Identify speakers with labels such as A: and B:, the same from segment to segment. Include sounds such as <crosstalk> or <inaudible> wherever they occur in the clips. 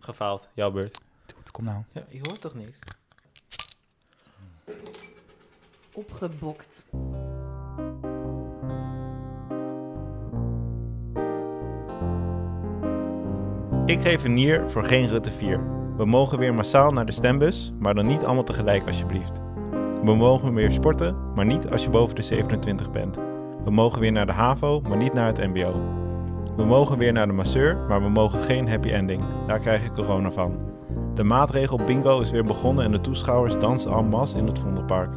A: Gefaald. Jouw beurt.
B: Dude, kom nou.
A: Ja, je hoort toch niks?
C: Opgebokt.
A: Ik geef een nier voor geen Rutte 4. We mogen weer massaal naar de stembus, maar dan niet allemaal tegelijk alsjeblieft. We mogen weer sporten, maar niet als je boven de 27 bent. We mogen weer naar de HAVO, maar niet naar het MBO. We mogen weer naar de masseur, maar we mogen geen happy ending. Daar krijg ik corona van. De maatregel bingo is weer begonnen en de toeschouwers dansen en masse in het Vondelpark.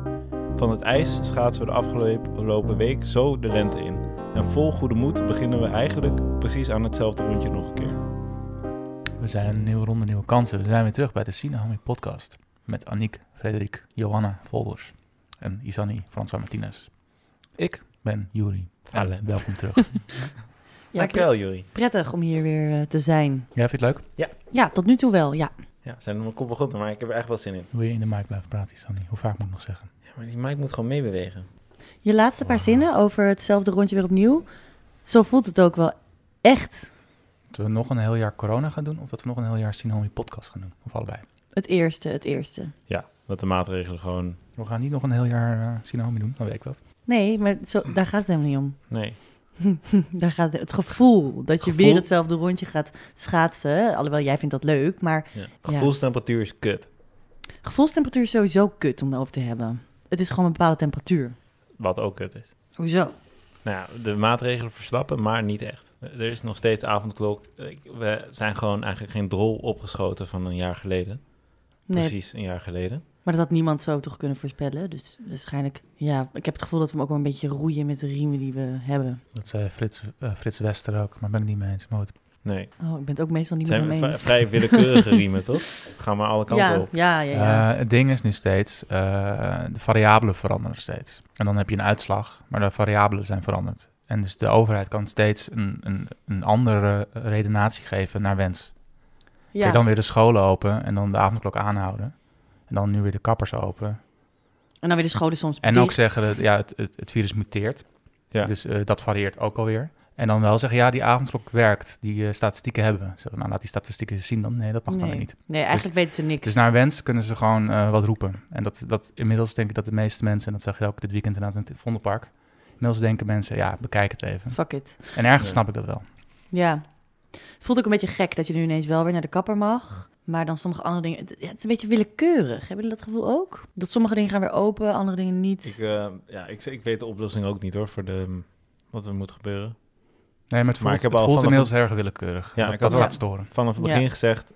A: Van het ijs schaatsen we de afgelopen week zo de lente in. En vol goede moed beginnen we eigenlijk precies aan hetzelfde rondje nog een keer.
B: We zijn een nieuwe ronde, nieuwe kansen. We zijn weer terug bij de Sinahami podcast. Met Aniek, Frederik, Johanna, Volders en Isani, Fransa Martinez. Ik ben Juri. En
A: Allen.
B: Welkom <laughs> terug.
C: Ja, pre-
A: Dankjewel, Juri.
C: prettig om hier weer eh, te zijn.
B: Jij vindt het leuk?
C: Ja, tot nu toe wel, ja.
A: Ja, we zijn er mijn kop begonnen, maar ik heb er echt wel zin in.
B: Hoe je in de mic blijft praten, Isani? Hoe vaak moet ik nog zeggen?
A: Ja, maar die mic moet gewoon meebewegen.
C: Je laatste paar zinnen over hetzelfde rondje weer opnieuw. Zo voelt het ook wel echt
B: Dat we nog een heel jaar corona gaan doen of dat we nog een heel jaar Sinahami podcast gaan doen? Of allebei?
C: het eerste, het eerste.
A: Ja, dat de maatregelen gewoon...
B: We gaan niet nog een heel jaar eh Sinahami doen, dan weet ik wat.
C: Nee, maar zo, daar gaat het helemaal niet om. <laughs>
A: Nee.
C: Daar gaat het, het gevoel dat je
A: Gevoel?
C: weer hetzelfde rondje gaat schaatsen. Alhoewel, jij vindt dat leuk, maar
A: Ja. Gevoelstemperatuur is kut.
C: gevoelstemperatuur is sowieso kut om over te hebben. Het is gewoon een bepaalde temperatuur.
A: Wat ook kut is.
C: Hoezo?
A: Nou ja, de maatregelen verslappen, maar niet echt. Er is nog steeds avondklok. Ik- We zijn gewoon eigenlijk geen drol opgeschoten van een jaar geleden.
C: Nee,
A: Precies een jaar geleden.
C: maar dat had niemand zo toch kunnen voorspellen. Dus waarschijnlijk, ja, ik heb het gevoel dat we hem ook wel een beetje roeien met de riemen die we hebben.
B: Dat zei Frits, eh, Frits Wester ook, maar ben ik niet mee eens. Maar goed.
A: Nee.
C: Oh, ik ben het ook meestal
A: Het
C: niet met
A: zijn
C: hem
A: vri-
C: eens. <laughs>
A: vrij willekeurige riemen, toch? Gaan maar alle kanten
C: Ja,
A: op.
C: ja, ja, ja.
B: Eh, het ding is nu steeds, eh, de variabelen veranderen steeds. En dan heb je een uitslag, maar de variabelen zijn veranderd. En dus de overheid kan steeds een, een, een andere redenatie geven naar wens. Kun
C: ja.
B: je dan weer de scholen open en dan de avondklok aanhouden. En dan nu weer de kappers open.
C: En dan weer de scholen soms
B: En ook
C: dicht.
B: zeggen, dat, ja, het, het, het virus muteert.
A: Ja.
B: Dus eh, dat varieert ook alweer. En dan wel zeggen, ja, die avondklok werkt. Die eh, statistieken hebben we. Zeggen, nou, laat die statistieken eens zien dan. Nee, dat mag dan
C: nee.
B: weer niet.
C: Nee, eigenlijk weten ze niks.
B: Dus naar wens kunnen ze gewoon eh, wat roepen. En dat, dat inmiddels denk ik dat de meeste mensen, en dat zag je ook dit weekend inderdaad in het Vondelpark, inmiddels denken mensen, ja, bekijk het even.
C: Fuck it.
B: En ergens
A: Ja.
B: snap ik dat wel.
C: Ja. Voelt ook een beetje gek dat je nu ineens wel weer naar de kapper mag. Maar dan sommige andere dingen... Het, ja, het is een beetje willekeurig. Hebben jullie dat gevoel ook? Dat sommige dingen gaan weer open, andere dingen niet.
A: Ik, eh, ja, ik, ik weet de oplossing ook niet hoor, voor de, wat er moet gebeuren.
B: Nee, maar het
A: Maar
B: voelt,
A: ik heb
B: het
A: al
B: voelt
A: vanaf-
B: inmiddels heel erg willekeurig.
A: Ja,
B: Ja, dat
A: ik had
B: dat
C: wel-
B: gaat storen.
A: vanaf het
C: Ja.
A: begin gezegd,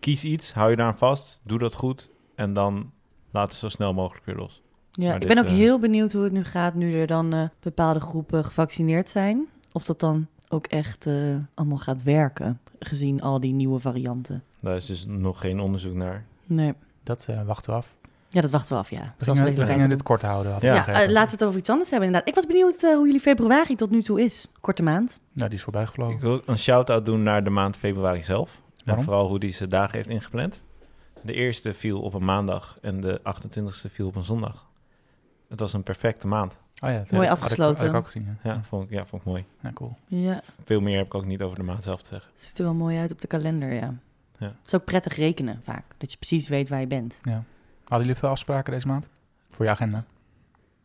A: kies iets, hou je daar aan vast, doe dat goed en dan laat het zo snel mogelijk weer los.
C: ja,
A: maar
C: ik
A: dit,
C: ben ook
A: eh,
C: heel benieuwd hoe het nu gaat... nu er dan eh, bepaalde groepen gevaccineerd zijn. Of dat dan ook echt eh, allemaal gaat werken. Gezien al die nieuwe varianten.
A: Daar is dus nog geen onderzoek naar.
C: Nee.
B: Dat eh, wachten we af.
C: Ja, dat wachten we af, ja.
B: We
C: Zoals
B: gingen,
C: we de
B: we
C: hele
B: gingen
C: tijd
B: dit
C: doen.
B: kort houden. hadden
A: Ja.
B: we
C: Ja,
B: begrepen.
C: eh, laten we het over iets anders hebben inderdaad. Ik was benieuwd eh, hoe jullie februari tot nu toe is. Korte maand.
B: Nou, die is voorbij gevlogen.
A: Ik wil een shout-out doen naar de maand februari zelf.
B: Waarom?
A: En vooral hoe die zijn dagen heeft ingepland. De eerste viel op een maandag en de 28ste viel op een zondag. Het was een perfecte maand.
B: Oh ja, dat
C: Mooi
B: had ik- Had
C: afgesloten.
B: ik, ook gezien, ja.
A: Ja, vond ik, ja, vond ik mooi.
B: Ja, cool.
C: Ja,
A: Veel meer heb ik ook niet over de maand zelf te zeggen.
C: Ziet er wel mooi uit op de kalender, ja.
A: Ja.
C: Het is ook prettig rekenen vaak, dat je precies weet waar je bent.
B: Hadden jullie veel afspraken deze maand? Voor je agenda?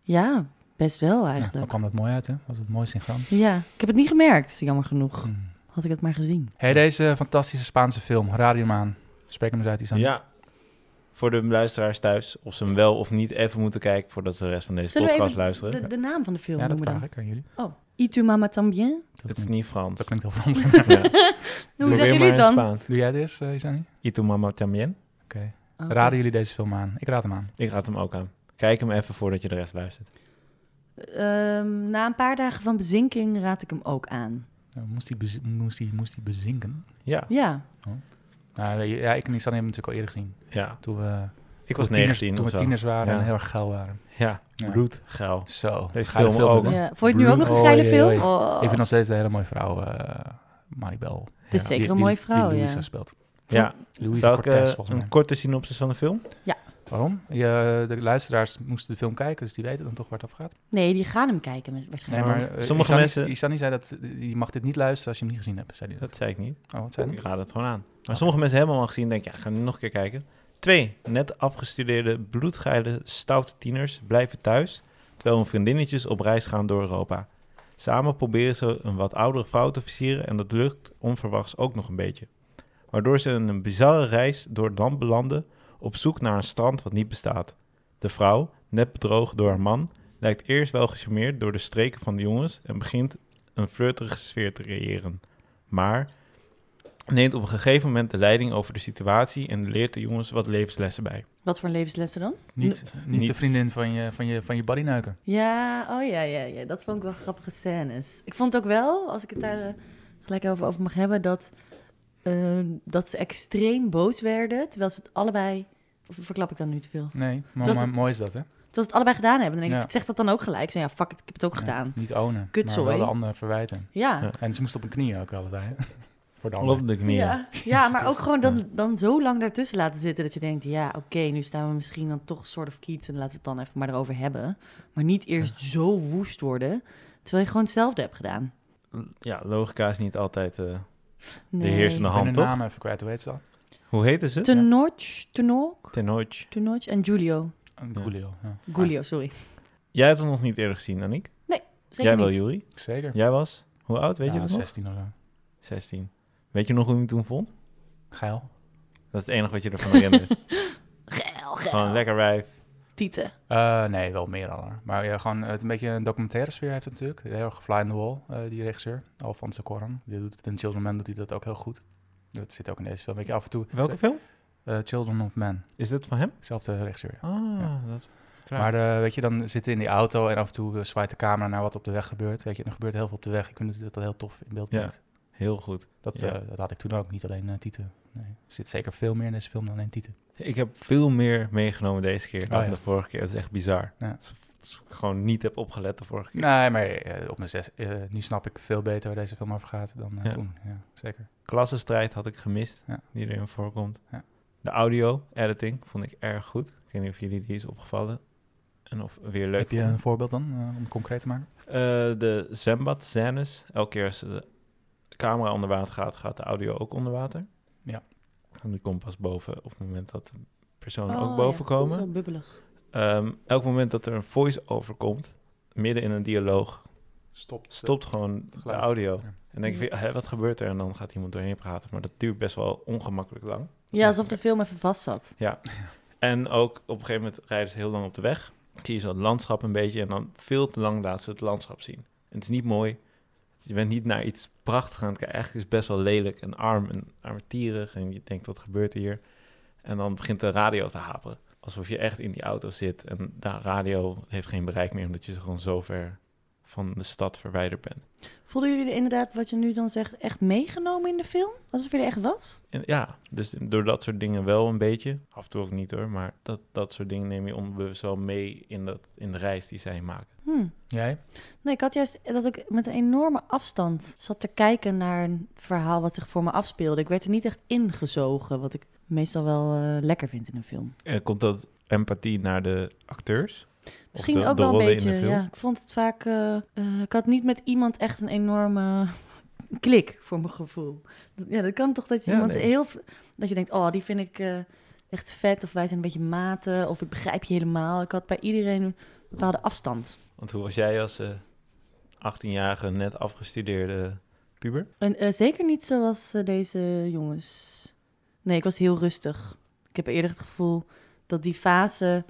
C: Ja, best wel
B: Ja, dan
C: eigenlijk.
B: kwam dat mooi uit, hè? Was het mooi synchroon.
C: Ja, ik heb het niet gemerkt, jammer genoeg.
B: Hmm.
C: Had ik het maar gezien.
B: hey, deze fantastische Spaanse film, Radiomaan. Spreek hem eens uit, Isan.
A: Ja, voor de luisteraars thuis, of ze hem wel of niet even moeten kijken voordat ze de rest van deze
C: Zullen we
A: podcast
C: even
A: luisteren.
C: De, de naam van de film
B: ja dat
C: noemen
B: vraag
C: dan.
B: ik aan jullie.
C: Oh, I tu mama tambien?
B: Dat
A: Het is
B: klinkt-
A: niet Frans.
B: Dat klinkt heel Frans. <laughs>
A: Ja.
C: Hoe
A: Probeer maar
C: zeggen jullie
A: in
C: het dan?
A: Spaans.
B: Doe jij dit, uh, Isani?
A: Y tu mamá también?
B: Oké.
C: Oh,
B: Raden jullie deze film aan? Ik raad hem aan.
A: Ik raad hem ook aan. Kijk hem even voordat je de rest luistert.
C: ehm, na een paar dagen van bezinking raad ik hem ook aan.
A: Eh,
B: Nou, moest, hij bez- moest, hij, moest hij bezinken?
A: Ja,
C: Ja,
B: Nou, weet je, ja, ik en Isani hebben hem natuurlijk al eerder gezien.
A: ja.
B: Toen we,
A: Ik was
B: toen we tieners,
A: 19
B: Toen
A: of
B: we
A: zo.
B: tieners waren
A: Ja.
B: en heel erg geil waren.
A: Ja,
B: Ja.
A: bloedgeil.
B: Zo.
A: Deze
B: geile
A: film ook.
B: hè?
C: ja. vond je het nu ook nog een
B: Oh,
C: geile
B: jee,
C: film?
B: jee.
C: Oh.
B: Ik vind nog steeds de hele mooie vrouw, eh Maribel.
C: Het is
A: Ja,
C: zeker
B: Die-
C: een
B: die-
C: mooie vrouw,
B: Die
C: ja.
B: Louisa speelt.
A: Ja,
B: Louisa
A: zou ik eh,
B: Cortez, volgens mij.
A: een korte synopsis van de film?
C: Ja.
B: Waarom? Je, de luisteraars moesten de film kijken, dus die weten dan toch waar het over gaat.
C: Nee, die gaan hem kijken met- waarschijnlijk.
B: eh,
A: Sommige
B: Isani-
A: mensen-
B: Isani zei dat eh, je mag dit niet luisteren als je hem niet gezien hebt, zei hij dat.
A: Dat zei ik niet.
B: Oh, wat zei hij?
A: Ik raad het gewoon aan. Maar sommige mensen hebben hem al gezien en denken, ja, ik ga nu nog een keer kijken. Twee, net afgestudeerde bloedgeile stoute tieners blijven thuis... terwijl hun vriendinnetjes op reis gaan door Europa. Samen proberen ze een wat oudere vrouw te versieren... en dat lukt onverwachts ook nog een beetje. Waardoor ze in een bizarre reis door het land belanden... op zoek naar een strand wat niet bestaat. De vrouw, net bedrogen door haar man... lijkt eerst wel gecharmeerd door de streken van de jongens... en begint een flirterige sfeer te creëren. Maar neemt op een gegeven moment de leiding over de situatie en leert de jongens wat levenslessen bij.
C: Wat voor levenslessen dan?
B: Niet, niet, de
A: Niet.
B: vriendin van je, van je, van je bodynuiker.
C: Ja, oh ja, ja, ja. Dat vond ik wel grappige scènes. Ik vond ook wel, als ik het daar eh, gelijk over, over mag hebben, dat, eh, dat ze extreem boos werden. Terwijl ze het allebei. Of verklap ik dan nu te veel?
B: Nee, maar,
C: Dat is-
B: maar mooi is dat, hè?
C: Terwijl ze het allebei gedaan hebben. Dan denk ik,
B: Ja.
C: ik zeg dat dan ook gelijk. Zeg, ja, fuck it, ik heb het ook gedaan.
B: Ja, niet ownen,
C: Kutzooi.
B: maar wel de ander verwijten.
C: Ja.
A: Ja.
B: En ze moest op een knieën ook altijd, hè? <laughs> Voor de ander.
A: Klopt ik niet.
C: Ja, ja, maar
A: <laughs>
C: ook gewoon dan, dan zo lang daartussen laten zitten dat je denkt, ja, oké, nu staan we misschien dan toch soort of kiet en laten we het dan even maar erover hebben. Maar niet eerst zo woest worden, terwijl je gewoon hetzelfde hebt gedaan.
A: Ja, logica is niet altijd eh,
C: Nee.
A: de heersende
B: Ik ben
A: hand,
B: de
A: toch?
B: naam even kwijt, hoe heet ze dan?
A: Hoe heette ze?
C: Tenoch, Tenoch,
A: Tenoch.
C: Tenoch en Giulio.
A: Ja.
B: Coolio, ja.
A: Ah.
C: Giulio, sorry.
A: Jij hebt hem nog niet eerder gezien, Annick.
C: Zeker
A: Jij wel,
C: niet.
A: Juri.
B: Ah, Zeker.
A: Jij was, hoe oud, weet
B: Ja,
A: je dat nog?
B: 16 of zo.
A: 16. Weet je nog hoe je hem toen vond?
B: Geil.
A: Dat is het enige wat je ervan
C: <laughs>
A: herinnert.
C: Geil,
A: Gewoon
C: geil.
A: lekker wijf.
C: Tieten.
B: Eh, nee, wel meer dan. hoor. Maar ja, gewoon eh, het een beetje een documentaire sfeer heeft het natuurlijk. Heel erg fly in the wall, eh, die regisseur. Alfonso Cuarón. Die doet het in Children of Men, doet hij dat ook heel goed. Dat zit ook in deze film. Weet je, af en toe...
A: Welke film?
B: Eh, Children of Men.
A: Is dat van hem?
B: Zelfde regisseur, ja.
A: Ah, dat Klaar.
B: Maar eh, weet je, dan zitten in die auto en af en toe eh, zwaait de camera naar wat op de weg gebeurt. Weet je, en er gebeurt heel veel op de weg. Ik vind dat dat heel tof in beeld
A: Ja.
B: brengt.
A: heel goed.
B: Dat,
A: Ja.
B: eh, dat had ik toen ook, niet alleen eh Tieten. Nee. Er zit zeker veel meer in deze film dan alleen Tieten.
A: Ik heb veel meer meegenomen deze keer dan
B: ja.
A: de vorige keer. Dat is echt bizar.
B: Ja.
A: Dat is- dat is gewoon niet heb opgelet de vorige keer.
B: Nee, maar eh, op mijn zes, eh, nu snap ik veel beter waar deze film over gaat dan eh,
A: Ja.
B: toen. Ja, zeker.
A: klassenstrijd had ik gemist,
B: Ja.
A: die erin voorkomt.
B: Ja.
A: De audio-editing vond ik erg goed. Ik weet niet of jullie die is opgevallen. En of weer leuk.
B: Heb je
A: vonden.
B: een voorbeeld dan, eh, om het concreet te maken?
A: Eh, de zwembad scènes. Elke keer als de camera onder water gaat, gaat de audio ook onder water.
B: Ja.
A: En die komt pas boven op het moment dat de personen
C: Oh,
A: ook boven
C: ja.
A: komen.
C: Zo bubbelig.
A: Ehm, elk moment dat er een voice-over komt, midden in een dialoog,
B: Stopt.
A: stopt gewoon de
B: geluid.
A: audio.
B: Ja.
A: En denk
C: Mhm.
A: je, van, "Hé, wat gebeurt er? En dan gaat iemand doorheen praten. Maar dat duurt best wel ongemakkelijk lang.
C: Ja, alsof de film even vast zat.
A: En ook op een gegeven moment rijden ze heel lang op de weg. Zie je zo het landschap een beetje en dan veel te lang laten ze het landschap zien. En het is niet mooi. Je bent niet naar iets prachtigs aan het kijken. Eigenlijk is het best wel lelijk en arm en armetierig. En je denkt, wat gebeurt er hier? En dan begint de radio te haperen. Alsof je echt in die auto zit en de radio heeft geen bereik meer... omdat je gewoon zo ver van de stad verwijderd bent.
C: Voelden jullie er inderdaad, wat je nu dan zegt, echt meegenomen in de film? Alsof je er echt was?
A: En ja, dus door dat soort dingen wel een beetje. Af en toe ook niet hoor, maar dat, dat soort dingen neem je onbewust wel mee... in, dat, in de reis die zij maken.
C: Hm.
B: Jij?
C: Nee, ik had juist dat ik met een enorme afstand zat te kijken naar een verhaal wat zich voor me afspeelde. Ik werd er niet echt ingezogen, wat ik meestal wel eh, lekker vind in een film.
A: Eh, komt dat empathie naar de acteurs?
C: Misschien
A: de-
C: ook
A: de
C: wel een
A: rollen in
C: beetje.
A: de film?
C: Ja, ik vond het vaak. eh, eh, ik had niet met iemand echt een enorme <laughs> klik voor mijn gevoel. Dat- Ja, dat kan toch dat je
A: Ja,
C: iemand
A: nee.
C: heel. v- Dat je denkt, oh, die vind ik eh, echt vet. Of wij zijn een beetje maten. Of ik begrijp je helemaal. Ik had bij iedereen een bepaalde afstand.
A: Want hoe was jij als eh, 18-jarige, net afgestudeerde puber?
C: En eh, zeker niet zoals eh, deze jongens. Nee, ik was heel rustig. Ik heb eerder het gevoel dat die fase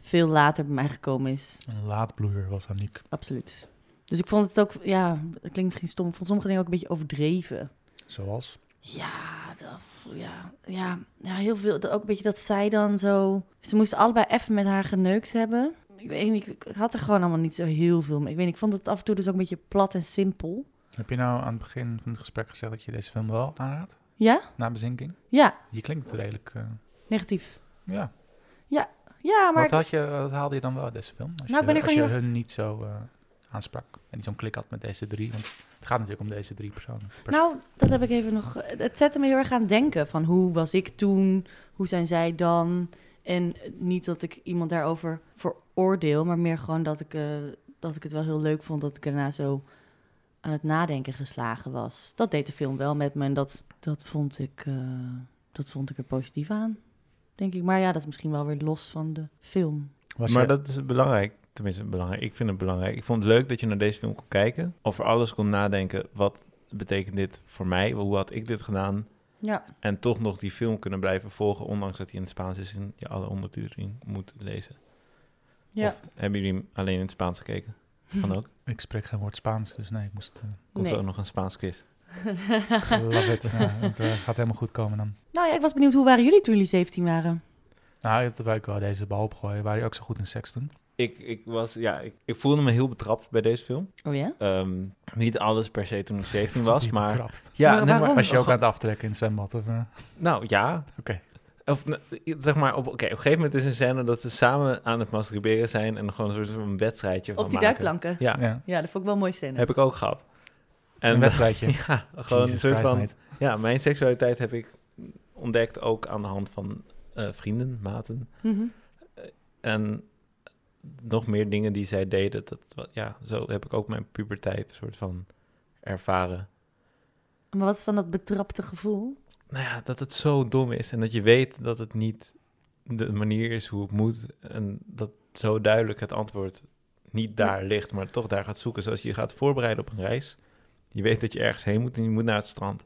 C: veel later bij mij gekomen is.
B: Een laadbloeier was Aniek.
C: Absoluut. Dus ik vond het ook, ja, het klinkt misschien stom, ik vond sommige dingen ook een beetje overdreven.
B: Zoals?
C: Ja, dat, ja, ja, ja, heel veel. Dat, ook een beetje dat zij dan zo... Ze moesten allebei even met haar geneukt hebben. Ik weet niet, ik, ik had er gewoon allemaal niet zo heel veel mee. Ik weet niet, ik vond het af en toe dus ook een beetje plat en simpel.
B: Heb je nou aan het begin van het gesprek gezegd dat je deze film wel aanraadt?
C: Ja?
B: Na bezinking?
C: Ja,
B: Je klinkt redelijk... eh,
C: negatief.
B: ja.
C: Ja, maar...
B: Wat, had je, wat haalde je dan wel uit deze film? Als
C: Nou, ik
B: je,
C: ben er
B: als
C: gewoon
B: je hun niet zo eh, aansprak en niet zo'n klik had met deze drie. Want het gaat natuurlijk om deze drie personen. Pers-
C: Nou, dat heb ik even nog. Het zette me heel erg aan het denken van hoe was ik toen? Hoe zijn zij dan? En niet dat ik iemand daarover veroordeel, maar meer gewoon dat ik, eh, dat ik het wel heel leuk vond dat ik daarna zo aan het nadenken geslagen was. Dat deed de film wel met me en dat, dat, vond, ik, eh, dat vond ik er positief aan, denk ik. Maar ja, dat is misschien wel weer los van de film.
B: Was
A: maar
B: je-
A: dat is belangrijk. Tenminste, belangrijk. Ik vind het belangrijk. Ik vond het leuk dat je naar deze film kon kijken. Over alles kon nadenken. Wat betekent dit voor mij? Hoe had ik dit gedaan?
C: Ja,
A: En toch nog die film kunnen blijven volgen. Ondanks dat hij in het Spaans is en je alle ondertiteling moet lezen.
C: ja.
A: Of hebben jullie hem alleen in het Spaans gekeken? Kan ook.
B: Ik spreek geen woord Spaans, dus nee, ik moest... eh,
A: Komt
C: Nee.
A: er ook nog een Spaans quiz?
C: <laughs>
B: love it. <laughs> Ja, het eh, gaat helemaal goed komen dan.
C: nou ja, ik was benieuwd, hoe waren jullie toen jullie 17 waren?
B: Nou, dat wil ik wel deze bal opgooien. Waren je ook zo goed in seks toen?
A: Ik, ik, was, ja, ik, ik voelde me heel betrapt bij deze film.
C: Oh ja?
A: Ehm, niet alles per se toen ik 17
B: <laughs>
A: was,
B: Die
A: maar...
B: betrapt.
A: Ja,
C: Maar
A: nee, maar
C: waarom?
B: Was je ook aan het aftrekken in het zwembad? Of, eh?
A: Nou ja.
B: Oké.
A: Of nou, zeg maar, op, oké, op een gegeven moment is een scène dat ze samen aan het masturberen zijn en er gewoon een soort van wedstrijdje van
C: Op die
A: maken.
C: duikplanken.
A: Ja,
B: ja.
C: Ja, dat vond ik wel een mooie scène.
A: heb ik ook gehad. En
B: Een wedstrijdje.
A: ja, <laughs> gewoon
B: Jesus
A: een soort
B: Christ,
A: van.
B: mate.
A: Ja, mijn seksualiteit heb ik ontdekt ook aan de hand van eh, vrienden, maten
C: Mhm.
A: en nog meer dingen die zij deden. Dat, wa- ja, zo heb ik ook mijn puberteit soort van ervaren.
C: Maar wat is dan dat betrapte gevoel?
A: nou ja, dat het zo dom is en dat je weet dat het niet de manier is hoe het moet en dat zo duidelijk het antwoord niet daar ligt, maar toch daar gaat zoeken. Zoals je gaat voorbereiden op een reis, je weet dat je ergens heen moet en je moet naar het strand.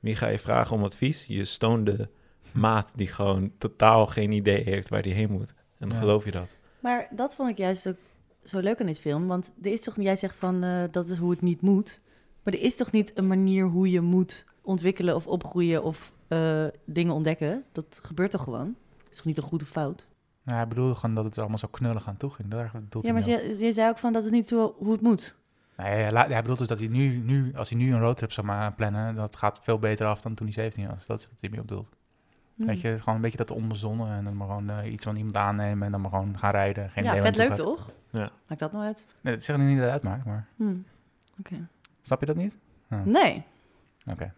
A: Wie ga je vragen om advies? Je stoonde maat die gewoon totaal geen idee heeft waar die heen moet. En dan
B: Ja.
A: geloof je dat?
C: Maar dat vond ik juist ook zo leuk aan deze film. Want er is toch, jij zegt van eh, dat is hoe het niet moet. Maar er is toch niet een manier hoe je moet ontwikkelen of opgroeien of eh, dingen ontdekken. Dat gebeurt toch gewoon? Het is toch niet een goede fout?
B: Nou, hij bedoelde gewoon dat het er allemaal zo knullig aan toe ging. Daar bedoelt
C: Ja,
B: hij
C: maar
B: mee op.
C: je, je zei ook van dat is niet hoe, hoe het moet.
B: Nee, hij, la- hij bedoelt dus dat hij nu, nu, als hij nu een roadtrip zou maar plannen, dat gaat veel beter af dan toen hij 17 was. Dat is wat hij mee bedoelt.
C: Mm. Hmm.
B: Weet je, het is gewoon een beetje dat onbezonnen en dan maar gewoon eh, iets van iemand aannemen en dan maar gewoon gaan rijden. Geen
C: ja,
B: idee
C: vet
B: waar
C: leuk
B: het naartoe
C: toch?
A: Ja.
C: Maakt dat nou uit?
B: gaat. Nee, dat zegt niet dat het uitmaakt, maar
C: Hm.
B: snap je dat niet?
C: Nee.
B: Oké.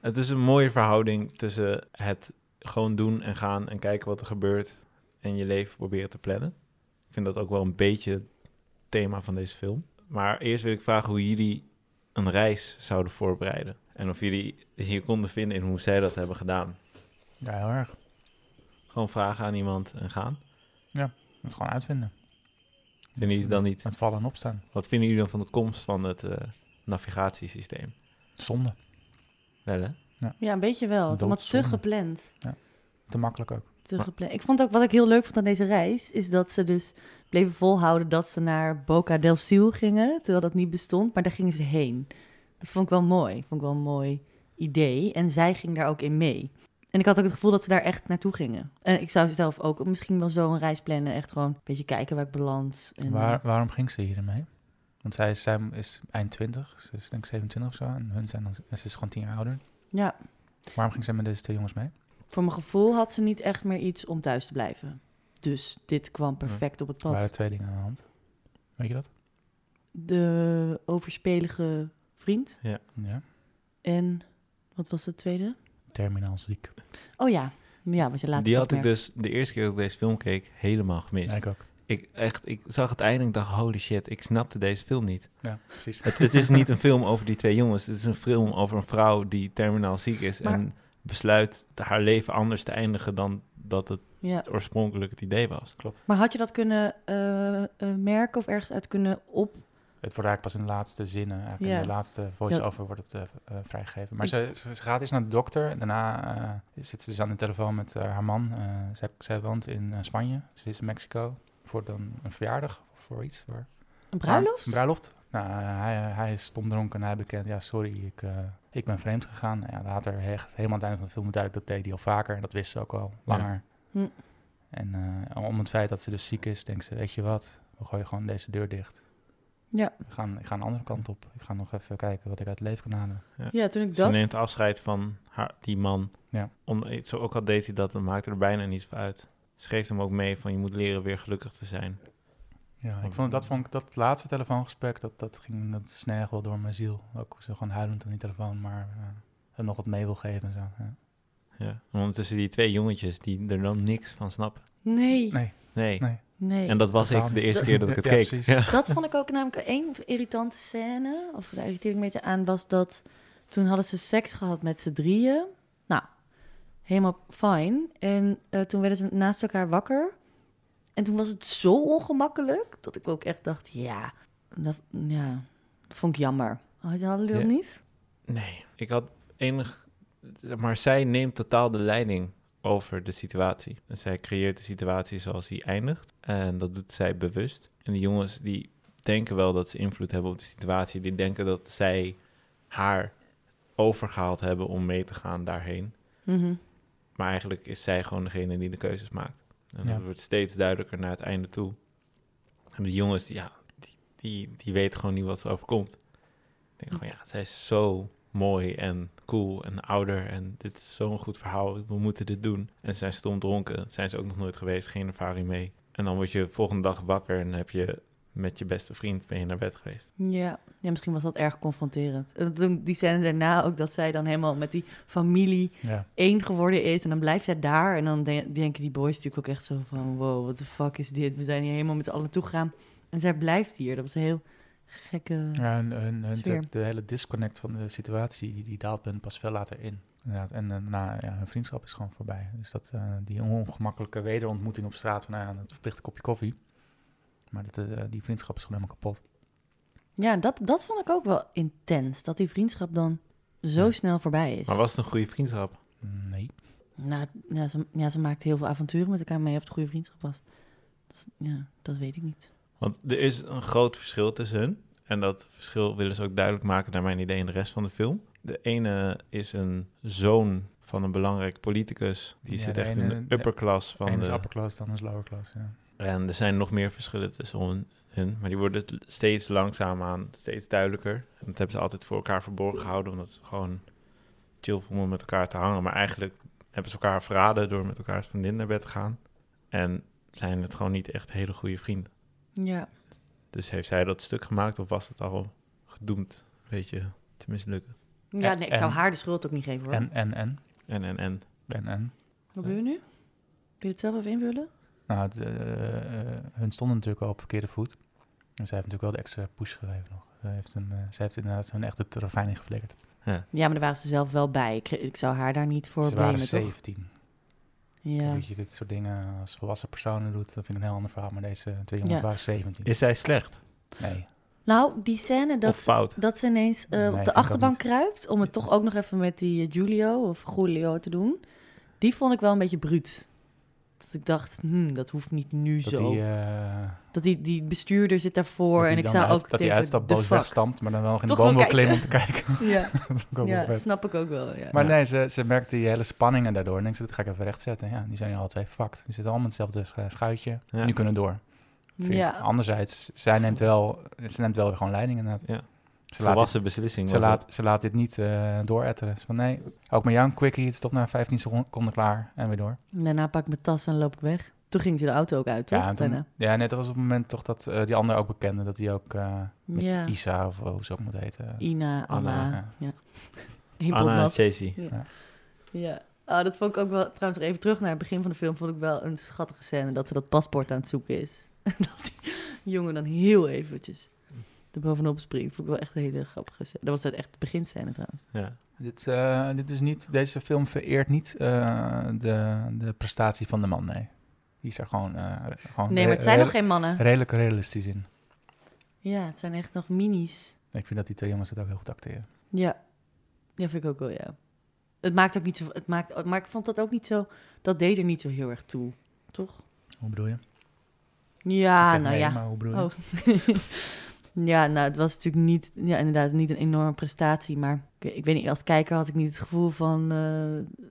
A: Het is een mooie verhouding tussen het gewoon doen en gaan en kijken wat er gebeurt en je leven proberen te plannen. Ik vind dat ook wel een beetje het thema van deze film. Maar eerst wil ik vragen hoe jullie een reis zouden voorbereiden. En of jullie hier konden vinden in hoe zij dat hebben gedaan.
B: Ja, heel erg.
A: Gewoon vragen aan iemand en gaan.
B: Dat is gewoon uitvinden.
A: Vinden jullie dan niet?
B: Met vallen en opstaan.
A: Wat vinden jullie dan van de komst van het eh, navigatiesysteem?
B: Zonde.
A: Wel hè?
C: Ja, een beetje wel. Het is allemaal te
B: Doodzonde.
C: gepland.
B: Te makkelijk ook.
C: te
A: Maar-
C: gepland. Ik vond ook wat ik heel leuk vond aan deze reis is dat ze dus bleven volhouden dat ze naar Boca del Sil gingen, terwijl dat niet bestond, maar daar gingen ze heen. Dat vond ik wel mooi. Vond ik wel een mooi idee. En zij ging daar ook in mee. En ik had ook het gevoel dat ze daar echt naartoe gingen. En ik zou zelf ook misschien wel zo een reis plannen. Echt gewoon een beetje kijken waar ik beland. En,
B: Waar, waarom ging ze hiermee? Want zij is, zij is eind 20, ze is denk ik 27 of zo. En hun zijn dan, en ze is gewoon 10 jaar ouder.
C: Ja,
B: Waarom ging zij met deze twee jongens mee?
C: voor mijn gevoel had ze niet echt meer iets om thuis te blijven. Dus dit kwam perfect op het
B: Er waren
C: pad.
B: twee dingen aan de hand. Weet je dat?
C: De overspelige vriend.
B: Ja.
C: En wat was het tweede?
B: Terminaal ziek.
C: Oh ja, ja, wat je later
A: Die
C: pas
A: had ik
C: merkt.
A: dus de eerste keer dat ik deze film keek helemaal gemist.
B: Ja, ik ook.
A: Ik, echt, ik zag het einde en ik dacht, holy shit, ik snapte deze film niet.
B: Ja, precies.
A: Het, het is niet een film over die twee jongens. Het is een film over een vrouw die terminaal ziek is
C: Maar-
A: en besluit haar leven anders te eindigen dan dat het
C: Ja.
A: oorspronkelijk het idee was.
B: Klopt.
C: Maar had je dat kunnen eh, eh, merken of ergens uit kunnen op?
B: <laughs> Het wordt eigenlijk pas in de laatste zinnen, eigenlijk
C: Ja.
B: in de laatste voice-over wordt het eh, eh, vrijgegeven. Maar
C: Ik-
B: ze, ze, ze gaat eerst naar de dokter en daarna eh, zit ze dus aan de telefoon met eh, haar man. Eh, zij, zij woont in eh, Spanje, ze is in Mexico voor dan een verjaardag of voor iets. Waar,
C: Een bruiloft?
B: Een bruiloft. Nou, eh, hij, hij is stomdronken en hij bekend. Ja, sorry, ik, eh, ik ben vreemd gegaan. Nou ja, later, echt, helemaal aan het einde van de film, duidelijk dat deed hij al vaker. En dat wist ze ook al langer.
C: Hm.
B: En eh, om het feit dat ze dus ziek is, denkt ze, weet je wat? We gooien gewoon deze deur dicht.
C: Ja.
B: Ik ga, ik ga een andere kant op. Ik ga nog even kijken wat ik uit het leven kan halen.
C: ja, toen ik
A: Ze
C: dat.
A: neemt afscheid van haar, die man.
B: Ja.
A: Om, zo, ook al deed hij dat, dan maakte er bijna niets van uit. Ze geeft hem ook mee van je moet leren weer gelukkig te zijn.
B: Ja, ik vond, dat vond ik, dat laatste telefoongesprek, dat, dat ging, dat sneeg echt wel door mijn ziel. Ook ze gewoon huilend aan die telefoon, maar eh, hem nog wat mee wil geven en zo. Ja.
A: Ja. En Ondertussen die twee jongetjes die er dan niks van snappen.
C: Nee,
B: Nee.
A: Nee.
B: Nee.
C: nee.
A: En dat was
B: Totaal
A: ik de
B: niet.
A: eerste
B: Dat-
A: keer dat ik het
B: <laughs> Ja,
A: keek.
B: precies.
A: Ja.
C: <laughs> Dat vond ik ook namelijk één irritante scène. Of daar irriteer ik een beetje aan, was dat toen hadden ze seks gehad met z'n drieën. Nou, helemaal fijn. En eh, toen werden ze naast elkaar wakker. En toen was het zo ongemakkelijk dat ik ook echt dacht, ja, dat, ja, dat vond ik jammer. Hadden jullie dat
A: Ja.
C: niet?
A: Nee, ik had enig... zeg Maar zij neemt totaal de leiding over de situatie. En zij creëert de situatie zoals die eindigt. En dat doet zij bewust. En die jongens die denken wel dat ze invloed hebben op de situatie. Die denken dat zij haar overgehaald hebben om mee te gaan daarheen.
C: Mhm.
A: Maar eigenlijk is zij gewoon degene die de keuzes maakt. En
B: Ja.
A: dat wordt steeds duidelijker naar het einde toe. En die jongens, ja, die, die, die weten gewoon niet wat ze overkomt. Ik denk gewoon, ja, zij is zo mooi en cool en ouder. En dit is zo'n goed verhaal, we moeten dit doen. En ze zijn stom dronken, zijn ze ook nog nooit geweest, geen ervaring mee. En dan word je volgende dag wakker en heb je met je beste vriend ben je naar bed geweest.
C: Ja. ja, misschien was dat erg confronterend. En toen die scène daarna ook dat zij dan helemaal met die familie
B: Ja.
C: één geworden is en dan blijft zij daar. En dan de- denken die boys natuurlijk ook echt zo van, wow, what the fuck is dit? We zijn hier helemaal met z'n allen toe gegaan. En zij blijft hier. Dat was een heel gekke...
B: Ja, hun, hun, hun-
C: Sfeer.
B: de hele disconnect van de situatie, die, die daalt hun pas veel later in. Inderdaad. En eh, na, ja, hun vriendschap is gewoon voorbij. Dus dat, eh, die ongemakkelijke wederontmoeting op straat van nou ja, het verplichte kopje koffie. Maar dat, eh, die vriendschap is gewoon helemaal kapot.
C: Ja, dat, dat vond ik ook wel intens. Dat die vriendschap dan zo
B: Ja.
C: snel voorbij is.
A: Maar was het een goede vriendschap?
B: Nee.
C: Nou, ja, ze, ja, ze maakte heel veel avonturen met elkaar mee of het goede vriendschap was. Dat, is- ja, dat weet ik niet.
A: Want er is een groot verschil tussen hun. En dat verschil willen ze ook duidelijk maken naar mijn idee in de rest van de film. De ene is een zoon van een belangrijk politicus. Die
B: Ja,
A: zit
B: de
A: echt
B: ene-
A: in de upperclass
B: Eén
A: van
B: is
A: de...
B: upper class, dan is lower class. Ja.
A: En er zijn nog meer verschillen tussen hun- hun. Maar die worden t- steeds langzaamaan, steeds duidelijker. En dat hebben ze altijd voor elkaar verborgen gehouden. Omdat ze gewoon chill vonden om met elkaar te hangen. Maar eigenlijk hebben ze elkaar verraden door met elkaar als vriendin naar bed te gaan. En zijn het gewoon niet echt hele goede vrienden.
C: Ja.
A: Dus heeft zij dat stuk gemaakt of was het al gedoemd, weet je, te mislukken?
C: Ja,
B: En-
C: nee, ik zou
B: en-
C: haar de schuld ook niet geven hoor.
B: En, en, en.
A: En, en, en.
B: En, en.
C: Wat wil je nu? Wil je het zelf even invullen?
B: Nou, het, eh, eh, hun stonden natuurlijk al op verkeerde voet. En zij heeft natuurlijk wel de extra push gegeven nog. Zij heeft, hem, eh, zij heeft inderdaad hun echt het ravijn ingeflikkerd.
C: Ja, maar daar waren ze zelf wel bij. Ik, ik zou haar daar niet voor
B: Ze waren
C: blamen, toch?
B: 17.
C: Ja.
B: Dat je dit soort dingen als volwassen personen doet, dat vind ik een heel ander verhaal. Maar deze twee jongens
C: Ja.
B: waren 17.
A: Is zij slecht
B: Nee.
C: Nou, die scène dat,
A: of fout?
C: dat ze ineens eh,
B: Nee, ik
C: op
B: vind
C: de
B: dat
C: achterbank
B: niet.
C: kruipt... om het toch ook nog even met die eh, Giulio of Giulio te doen... die vond ik wel een beetje bruut. Dat ik dacht, hmm, dat hoeft niet nu
B: Dat
C: zo.
B: die, eh,
C: dat die, die bestuurder zit
B: dat
C: daarvoor
B: die
C: en ik
B: dan
C: zou
B: uit-
C: ook
B: Dat hij
C: denken,
B: uitstapt,
C: the
B: boos
C: fuck.
B: wegstamt, maar dan wel in de
C: Toch wel
B: boom wil klimmen om te kijken.
C: <laughs> Ja,
B: dat is ook wel
C: ja
B: vet.
C: snap ik ook wel, ja.
B: Maar
A: Ja.
B: nee, ze, ze merkt die hele spanning en daardoor. En denkt ze, dat ga ik even rechtzetten. Ja, die zijn hier alle twee fucked. Die zitten allemaal in hetzelfde schu- schuitje.
A: Ja.
B: Nu kunnen we door. Vind ik.
C: ja.
B: Anderzijds, zij neemt wel, ze neemt wel weer gewoon leiding inderdaad.
A: Ja.
B: Ze laat,
A: Volwassen beslissing
B: ze,
A: was
B: laat, ze laat dit niet eh dooretteren. Ze van nee, ook met jou een quickie. Het is toch na 15 seconden klaar en weer door.
C: Daarna pak ik mijn tas en loop ik weg. Toen ging ze de auto ook uit, toch?
B: Ja, en toen-
C: Daarna.
B: ja, net dat was op het moment toch dat eh, die ander ook bekende. Dat die ook eh, met
C: Ja.
B: Isa of hoe ze ook moet heten.
C: Ina, Anna.
B: Anna,
C: ja.
A: het.
C: <laughs> Heel
A: Anna en
C: botnat.
A: Chasey.
C: Ja, Ah, dat vond ik ook wel. Trouwens, nog even terug naar het begin van de film. Vond ik wel een schattige scène dat ze dat paspoort aan het zoeken is. <laughs> dat die jongen dan heel eventjes er bovenop springt. Vond ik wel echt een hele grappige scène. Dat was het echt de beginscène trouwens.
A: Ja.
B: Dit, eh, dit is niet, deze film vereert niet eh, de, de prestatie van de man, nee. Die is er gewoon, eh, gewoon
C: Nee, maar het zijn nog geen mannen.
B: redelijk realistisch in.
C: Ja, het zijn echt nog minis.
B: Ik vind dat die twee jongens het ook heel goed acteren.
C: Ja, ja vind ik ook wel, ja. Het maakt ook niet zo... Het maakt, maar ik vond dat ook niet zo... Dat deed er niet zo heel erg toe, toch?
B: Hoe bedoel je? Ik
C: Ja,
B: zeg
C: nou
B: nee,
C: ja.
B: Maar hoe bedoel je?
C: Oh. ja, nou, het was natuurlijk niet, ja, inderdaad, niet een enorme prestatie. Maar ik, ik weet niet, als kijker had ik niet het gevoel van eh,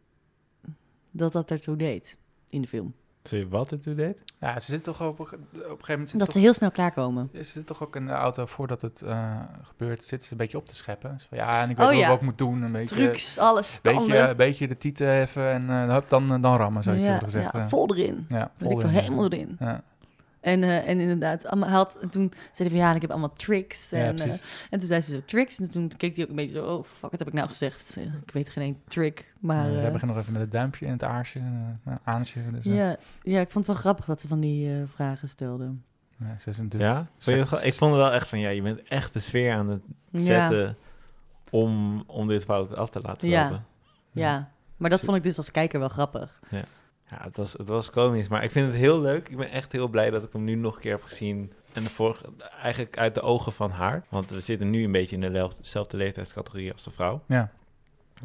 C: dat dat ertoe deed in de film.
A: Sorry, wat het toen deed?
B: Ja, ze zit toch op, op een gegeven moment... Zit
C: dat ze
B: ze,
C: heel snel klaarkomen.
B: toch, ze zit toch ook in de auto voordat het eh, gebeurt, zit ze een beetje op te scheppen. Ze van, ja, en ik weet
C: Oh,
B: wel
C: ja.
B: wat ik moet doen. Een beetje,
C: Trucs, alles,
B: Beetje,
C: standen.
B: een beetje de tieten even en eh, hup, dan, dan rammen, zoiets
C: ja,
B: hebben gezegd.
C: ja,
B: eh.
C: vol erin.
B: ja,
C: Weet ik
B: in.
C: wel, helemaal erin.
B: Ja.
C: En, eh, en inderdaad, allemaal, hij had, en toen zei hij van ja, ik heb allemaal tricks.
B: Ja,
C: En, eh,
B: precies.
C: en toen zei ze zo tricks. En toen keek hij ook een beetje zo, oh fuck, wat heb ik nou gezegd? Ik weet geen één trick. Maar
B: Maar,
C: eh,
B: Zij beginnen nog even met het duimpje in het aarsje, eh, nou, aansje. Dus, eh,
C: ja, ja, ik vond het wel grappig dat ze van die eh, vragen stelden.
B: ja, eh, ze is natuurlijk
A: Ja? Vond je het gewoon- ik vond het wel echt van, ja, je bent echt de sfeer aan het zetten om, om dit fout af te laten
C: Ja.
A: lopen.
C: Ja, maar dat vond ik dus als kijker wel grappig.
A: Ja, het was, het was komisch, maar ik vind het heel leuk. Ik ben echt heel blij dat ik hem nu nog een keer heb gezien. En de vorige, eigenlijk uit de ogen van haar. Want we zitten nu een beetje in dezelfde dezelfde leeftijdscategorie als de vrouw.
B: Ja.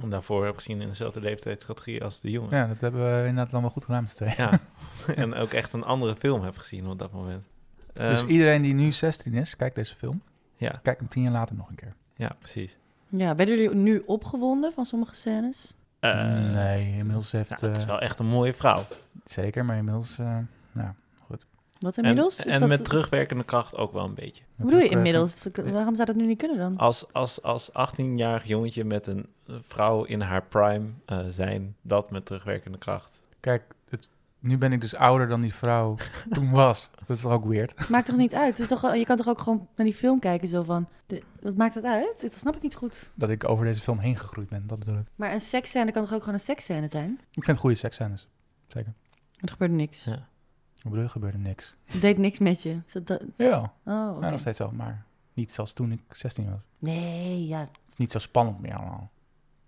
A: En daarvoor heb ik gezien in dezelfde leeftijdscategorie als de jongens.
B: Ja, dat hebben we inderdaad allemaal goed gedaan met z'n tweeën. <laughs>
A: Ja. en ook echt een andere film heb gezien op dat moment.
B: dus
A: Ehm,
B: iedereen die nu 16 is, kijkt deze film.
A: ja,
B: Kijk hem tien jaar later nog een keer.
A: ja, precies.
C: Ja, werden jullie nu opgewonden van sommige scènes?
A: Eh,
B: nee, inmiddels heeft...
A: nou, het is
B: eh,
A: wel echt een mooie vrouw.
B: Zeker, maar inmiddels... eh, nou,
C: Wat
A: En,
C: inmiddels? Is
A: en
C: dat-
A: met terugwerkende kracht ook wel een beetje.
C: Hoe bedoel je
B: terugwerken.
C: inmiddels? Waarom zou dat nu niet kunnen dan?
A: Als, als, als 18-jarig jongetje met een vrouw in haar prime eh, zijn, dat met terugwerkende kracht.
B: Kijk, het, nu ben ik dus ouder dan die
C: <laughs>
B: vrouw toen was. Dat is toch ook weird?
C: Maakt toch niet uit? Het is toch, je kan toch ook gewoon naar die film kijken zo van... de- wat maakt dat uit? Dat snap ik niet goed.
B: Dat ik over deze film heen gegroeid ben, dat bedoel ik.
C: Maar een seksscène kan toch ook gewoon een seksscène zijn?
B: Ik vind goede seksscènes.
C: Er gebeurde niks.
A: Ja.
B: Ik bedoel, er gebeurde niks.
C: Het deed niks met je. Is dat dat-
B: Ja,
C: Oh,
B: ja,
C: oké.
B: nog steeds wel, maar niet zoals toen ik 16 was.
C: Nee, ja.
B: Het is niet zo spannend meer allemaal.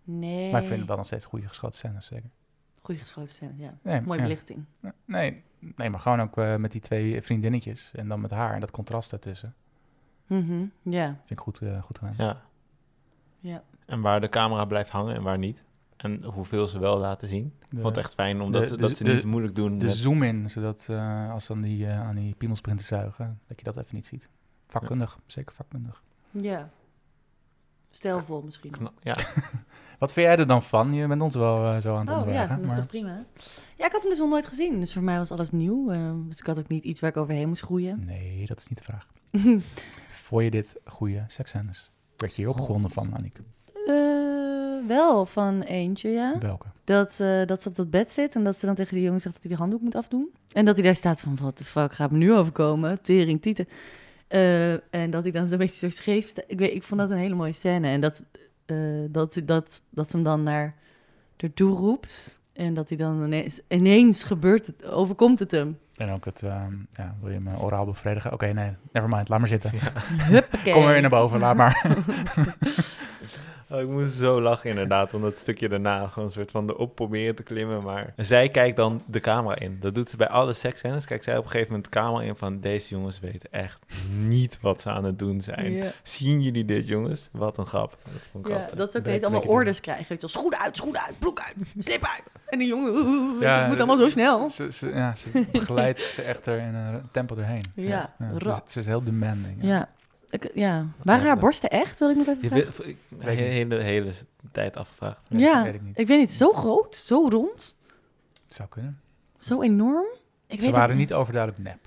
C: Nee.
B: Maar ik vind het wel nog steeds goede geschoten scènes, zeker.
C: Goeie geschoten scène, ja.
B: Nee,
C: Mooie
B: ja.
C: belichting.
B: Nee, nee, maar gewoon ook eh, met die twee vriendinnetjes en dan met haar en dat contrast daartussen.
C: Mhm, Ja,
B: Vind ik goed, eh, goed gedaan.
A: Ja.
C: ja.
A: En waar de camera blijft hangen en waar niet. En hoeveel ze wel laten zien.
B: De-
A: Vond het echt fijn, omdat
B: de-
A: ze,
B: de-
A: dat ze
B: de-
A: niet moeilijk doen.
B: De
A: met-
B: zoom in, zodat eh, als dan die, eh, aan die piemels begint te zuigen, dat je dat even niet ziet. Vakkundig, zeker vakkundig.
C: Ja. Stelvol misschien.
A: kna- ja.
B: Wat vind jij er dan van? Je bent ons wel eh, zo aan het
C: Oh ja, dat
B: onderwegen.
C: is
B: maar
C: toch prima. Ja, ik had hem dus nog nooit gezien. Dus voor mij was alles nieuw. eh, dus ik had ook niet iets waar ik overheen moest groeien. <laughs>
B: Nee, dat is niet de vraag. Vond je dit goede seksscènes? Werd je hier opgewonden van, Annick?
C: Eh, wel van eentje, ja.
B: Welke?
C: Dat, eh, dat ze op dat bed zit en dat ze dan tegen die jongen zegt dat hij die handdoek moet afdoen. En dat hij daar staat van, wat de fuck gaat me nu overkomen? Tering, tieten. Eh, en dat hij dan zo'n beetje zo scheef staat. Ik, weet, ik vond dat een hele mooie scène. En dat, eh, dat, dat, dat ze hem dan naar ertoe roept. En dat hij dan ineens, ineens gebeurt het, overkomt het hem.
B: En ook het, ehm, ja, wil je me oraal bevredigen? Oké, nee, never mind, laat maar zitten.
C: Huppakee.
B: Kom er weer naar boven, laat
C: <laughs>
B: maar.
A: <laughs> Oh, ik moest zo lachen inderdaad, omdat het stukje daarna gewoon een soort van erop proberen te klimmen. Maar zij kijkt dan de camera in. Dat doet ze bij alle seksscènes. Kijkt zij op een gegeven moment de camera in van deze jongens weten echt niet wat ze aan het doen zijn.
C: Ja.
A: Zien jullie dit jongens? Wat een grap. Dat vond ik
C: Ja,
A: grappig.
C: dat ze ook
B: Direct
C: heet allemaal
B: een keer
C: orders krijgen. Weet je wel, schoen uit, schoen uit, broek uit, slip uit. En die jongen, oeh, oeh, weet je,
B: Ja,
C: het moet allemaal zo snel.
B: Ze, ze- ja, ze begeleidt ze echt er in een tempo doorheen.
C: Ja,
B: ze is-
C: rat.
B: Ze, is heel demanding.
C: Ja, ik, ja. waren haar borsten echt, wil ik nog even
A: Je
C: vragen?
A: weet- ik heb
B: Weet
A: de
B: niet.
A: hele, hele tijd afgevraagd.
B: Weet-
C: ja,
B: weet ik niet.
C: ik weet niet, zo groot, zo rond,
B: Zou kunnen.
C: zo enorm. Ik
B: ze
C: weet
B: waren
C: het
B: niet overduidelijk nep.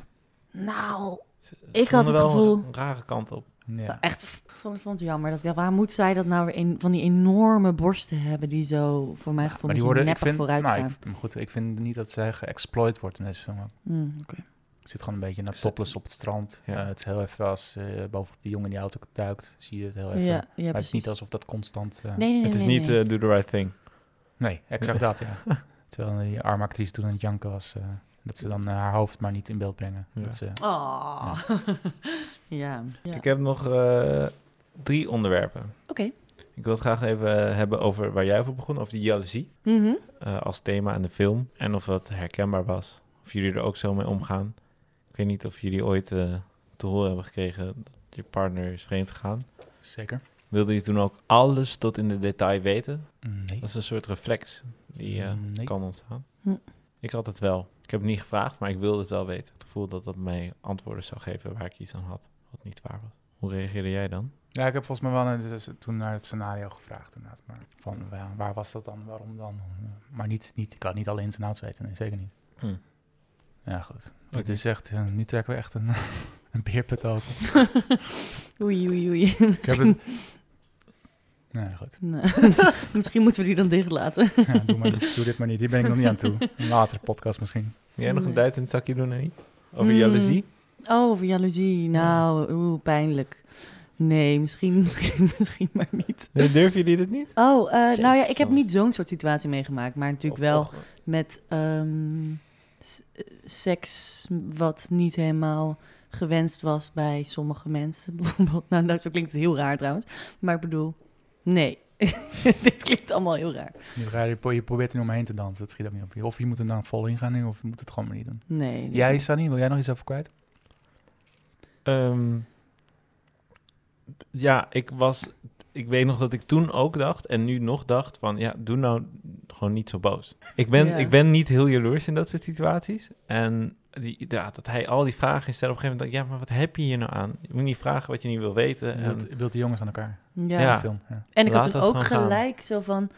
C: Nou,
A: Ze- ze
C: Ik had
A: vonden
C: het
A: wel
C: gevoel-
A: een rare kant op.
B: Ja.
C: echt, Nou, ik vond, vond het jammer. Dat, ja, waar moet zij dat nou weer een, van die enorme borsten hebben die zo, voor mijn gevoel,
B: maar
C: die
B: die
C: worden,
B: worden, ik
C: neppig
B: vind,
C: vooruit
B: nou,
C: staan.
B: ik, maar goed, ik vind niet dat zij geëxploit wordt in deze film. ook.
C: Hmm, oké.
B: Ik zit gewoon een beetje naar
A: Ze-
B: topless op het strand.
A: Ja.
B: Eh, het is heel even als eh, bovenop die jongen in die auto duikt, zie je het heel even.
C: Ja,
B: maar
C: ja,
B: het is
C: precies.
B: niet alsof dat constant... eh,
C: Nee, nee, nee.
A: het is
C: nee,
A: niet
C: nee.
A: eh, do the right thing.
B: Nee, exact dat,
C: <laughs>
B: ja. Terwijl die arme actrice toen aan het janken was, eh, dat ze dan eh, haar hoofd maar niet in beeld brengen.
A: Ja.
B: Dat ze,
C: Oh. ja. <laughs> ja.
A: Ik heb nog eh, drie onderwerpen.
C: Oké.
A: Ik wil het graag even eh, hebben over waar jij over begon, over die jaloezie.
C: Mhm.
A: eh, als thema aan de film. En of dat herkenbaar was. Of jullie er ook zo mee omgaan. Ik weet niet of jullie ooit eh, te horen hebben gekregen dat je partner is vreemd gegaan.
B: Zeker.
A: Wilde je toen ook alles tot in de detail weten?
B: Nee. Mm,
A: Dat is een soort reflex die eh,
B: Nee.
A: kan ontstaan.
C: Hm.
A: Ik had het wel. Ik heb het niet gevraagd, maar ik wilde het wel weten. Het gevoel dat dat mij antwoorden zou geven waar ik iets aan had, wat niet waar was. Hoe reageerde jij dan?
B: Ja, ik heb volgens mij wel eh, dus toen naar het scenario gevraagd inderdaad. Maar van wa- waar was dat dan, waarom dan? Eh, Maar niet, niet, ik had niet alle ins en outs weten, nee, zeker niet.
A: Hm.
B: Ja, goed.
A: Ook
B: Het is echt, eh, nu trekken we echt een, <laughs> een beerput open.
C: <laughs> Oei, oei, oei.
B: ik heb het... Nee, goed. <laughs>
C: Nee. <laughs> Misschien moeten we die dan dicht laten.
B: Ja, doe, maar niet, doe dit maar niet, hier ben ik nog niet aan toe. Een latere podcast misschien.
A: Wil jij nog een
C: Nee.
A: duit in het zakje doen, Annie? Over
C: Mm.
A: jaloezie?
C: Oh, over jaloezie. Nou, oeh, pijnlijk. Nee, misschien, <laughs> misschien, misschien maar niet.
A: Nee, <laughs> Durven jullie dit niet?
C: Mm. Oh, eh, nou ja,
A: Jezus,
C: ik heb
A: jongens.
C: niet zo'n soort situatie meegemaakt. Maar natuurlijk
A: Of-
C: wel
A: of-
C: met ehm, s- eh, seks wat niet helemaal gewenst was bij sommige mensen. <laughs> Bijvoorbeeld, nou, nou, zo klinkt het heel raar trouwens. Maar ik bedoel, nee. <laughs> Dit klinkt allemaal heel raar.
B: Je, ga je, pro- je probeert er omheen te dansen, dat schiet ook niet op. Of je moet er dan vol in gaan nu, of je moet het gewoon maar niet doen.
C: Nee. nee.
B: Jij, Sunny, wil jij nog iets over kwijt?
A: Ehm, t- ja, ik was. Ik weet nog dat ik toen ook dacht en nu nog dacht van ja, doe nou gewoon niet zo boos. Ik ben,
C: Ja.
A: ik ben niet heel jaloers in dat soort situaties. En die, ja, dat hij al die vragen stelt op een gegeven moment. dacht ik, Ja, maar wat heb je hier nou aan? Je moet niet vragen wat je niet wil weten.
B: Je
A: En,
B: wilt, je wilt de jongens aan elkaar.
C: Ja.
A: Eh, ehm, Ja.
B: Ja. Film, ja.
C: En ik
A: Laat
C: had toen
A: dat
C: ook
A: gewoon gaan.
C: gelijk zo van...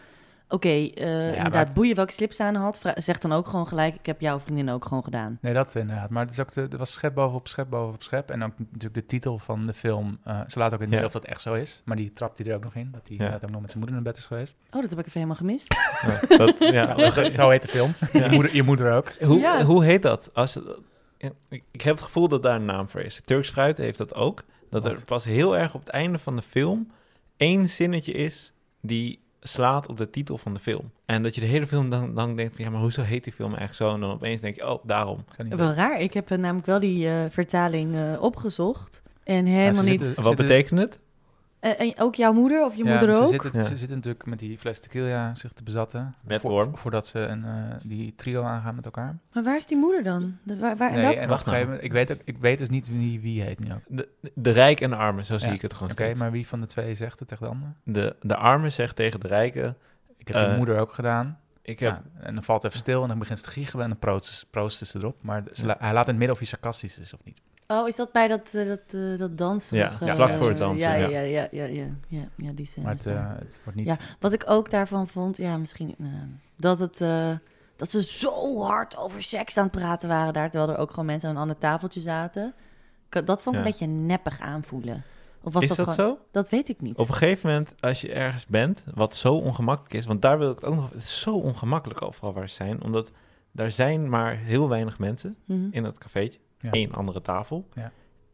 C: Oké, eh, inderdaad,
B: maar-
C: boeien welke slips aan had. vra- Zeg dan ook gewoon gelijk, ik heb jouw vriendin ook gewoon gedaan.
B: Nee, dat inderdaad. Maar het, is ook de, er was schep bovenop schep bovenop schep. En ook natuurlijk de titel van de film. eh, ze laat ook in het
A: Ja.
B: midden of dat echt zo is. Maar die trapt hij er ook nog in. Dat hij inderdaad ook nog met zijn moeder naar bed is geweest.
C: Oh, dat heb ik even helemaal gemist.
A: ja, dat, ja,
B: Ja, dat- zo heet de film.
A: <laughs> Ja.
B: Je, moeder, je moeder ook.
A: Hoe,
C: Ja.
A: hoe heet dat? Als, ja, ik ik heb het gevoel dat daar een naam voor is. Turks Fruit heeft dat ook. Dat er
B: Wat?
A: pas heel erg op het einde van de film één zinnetje is die slaat op de titel van de film. En dat je de hele film dan, dan denkt van ja, maar hoezo heet die film eigenlijk zo? En dan opeens denk je, oh, daarom.
B: Ik zou niet
C: Wel raar, ik heb eh, namelijk wel die eh, vertaling eh, opgezocht. En
B: Maar
C: helemaal
B: ze
C: niet...
B: zitten-
A: Wat
B: zitten-
A: betekent het?
C: Eh, en ook jouw moeder of je
B: Ja,
C: moeder
B: maar
C: ook?
B: Ze zitten,
A: Ja.
B: ze zitten natuurlijk met die fles tequila zich te bezatten.
A: Met
B: Vo-
A: worm.
B: voordat ze een, eh, die trio aangaan met elkaar.
C: Maar waar is die moeder dan? De- waar, waar, en
B: nee,
C: welke-
B: en op
A: Wacht nou.
B: een gegeven moment, ik weet, ook, ik weet dus niet wie, wie heet nu ook.
A: De, de rijk en de arme, zo zie
B: Ja,
A: ik het gewoon
B: Oké,
A: steeds.
B: maar wie van de twee zegt het tegen de ander?
A: De, de arme zegt tegen de rijken,
B: Ik heb je
A: Eh,
B: moeder ook gedaan.
A: ik heb...
B: Ja. en dan valt het even stil en dan begint ze te giechelen en dan proost ze- proosten ze erop. Maar ze la- hij laat in het midden of hij sarcastisch is of niet.
C: Oh, is dat bij dat, eh, dat, eh, dat dansen?
A: Ja,
C: nog,
A: ja,
C: eh,
A: vlak voor het dansen,
C: Ja,
A: ja.
C: ja, ja, ja, ja, ja, ja, ja, die scène.
B: maar het,
C: is daar.
B: eh, het wordt niet...
C: Ja. Wat ik ook daarvan vond, ja, misschien... eh, dat het... eh, dat ze zo hard over seks aan het praten waren daar... terwijl er ook gewoon mensen aan een ander tafeltje zaten. Ik- Dat vond ik
A: Ja.
C: een beetje neppig aanvoelen. Of was
A: Is dat
C: gewoon...
A: zo?
C: Dat weet ik niet.
A: Op een gegeven moment, als je ergens bent, wat zo ongemakkelijk is, want daar wil ik het ook nog. Het is zo ongemakkelijk overal waar ze zijn, omdat daar zijn maar heel weinig mensen
C: Mhm.
A: in dat cafeetje.
B: Ja.
A: Eén andere tafel.
B: Ja.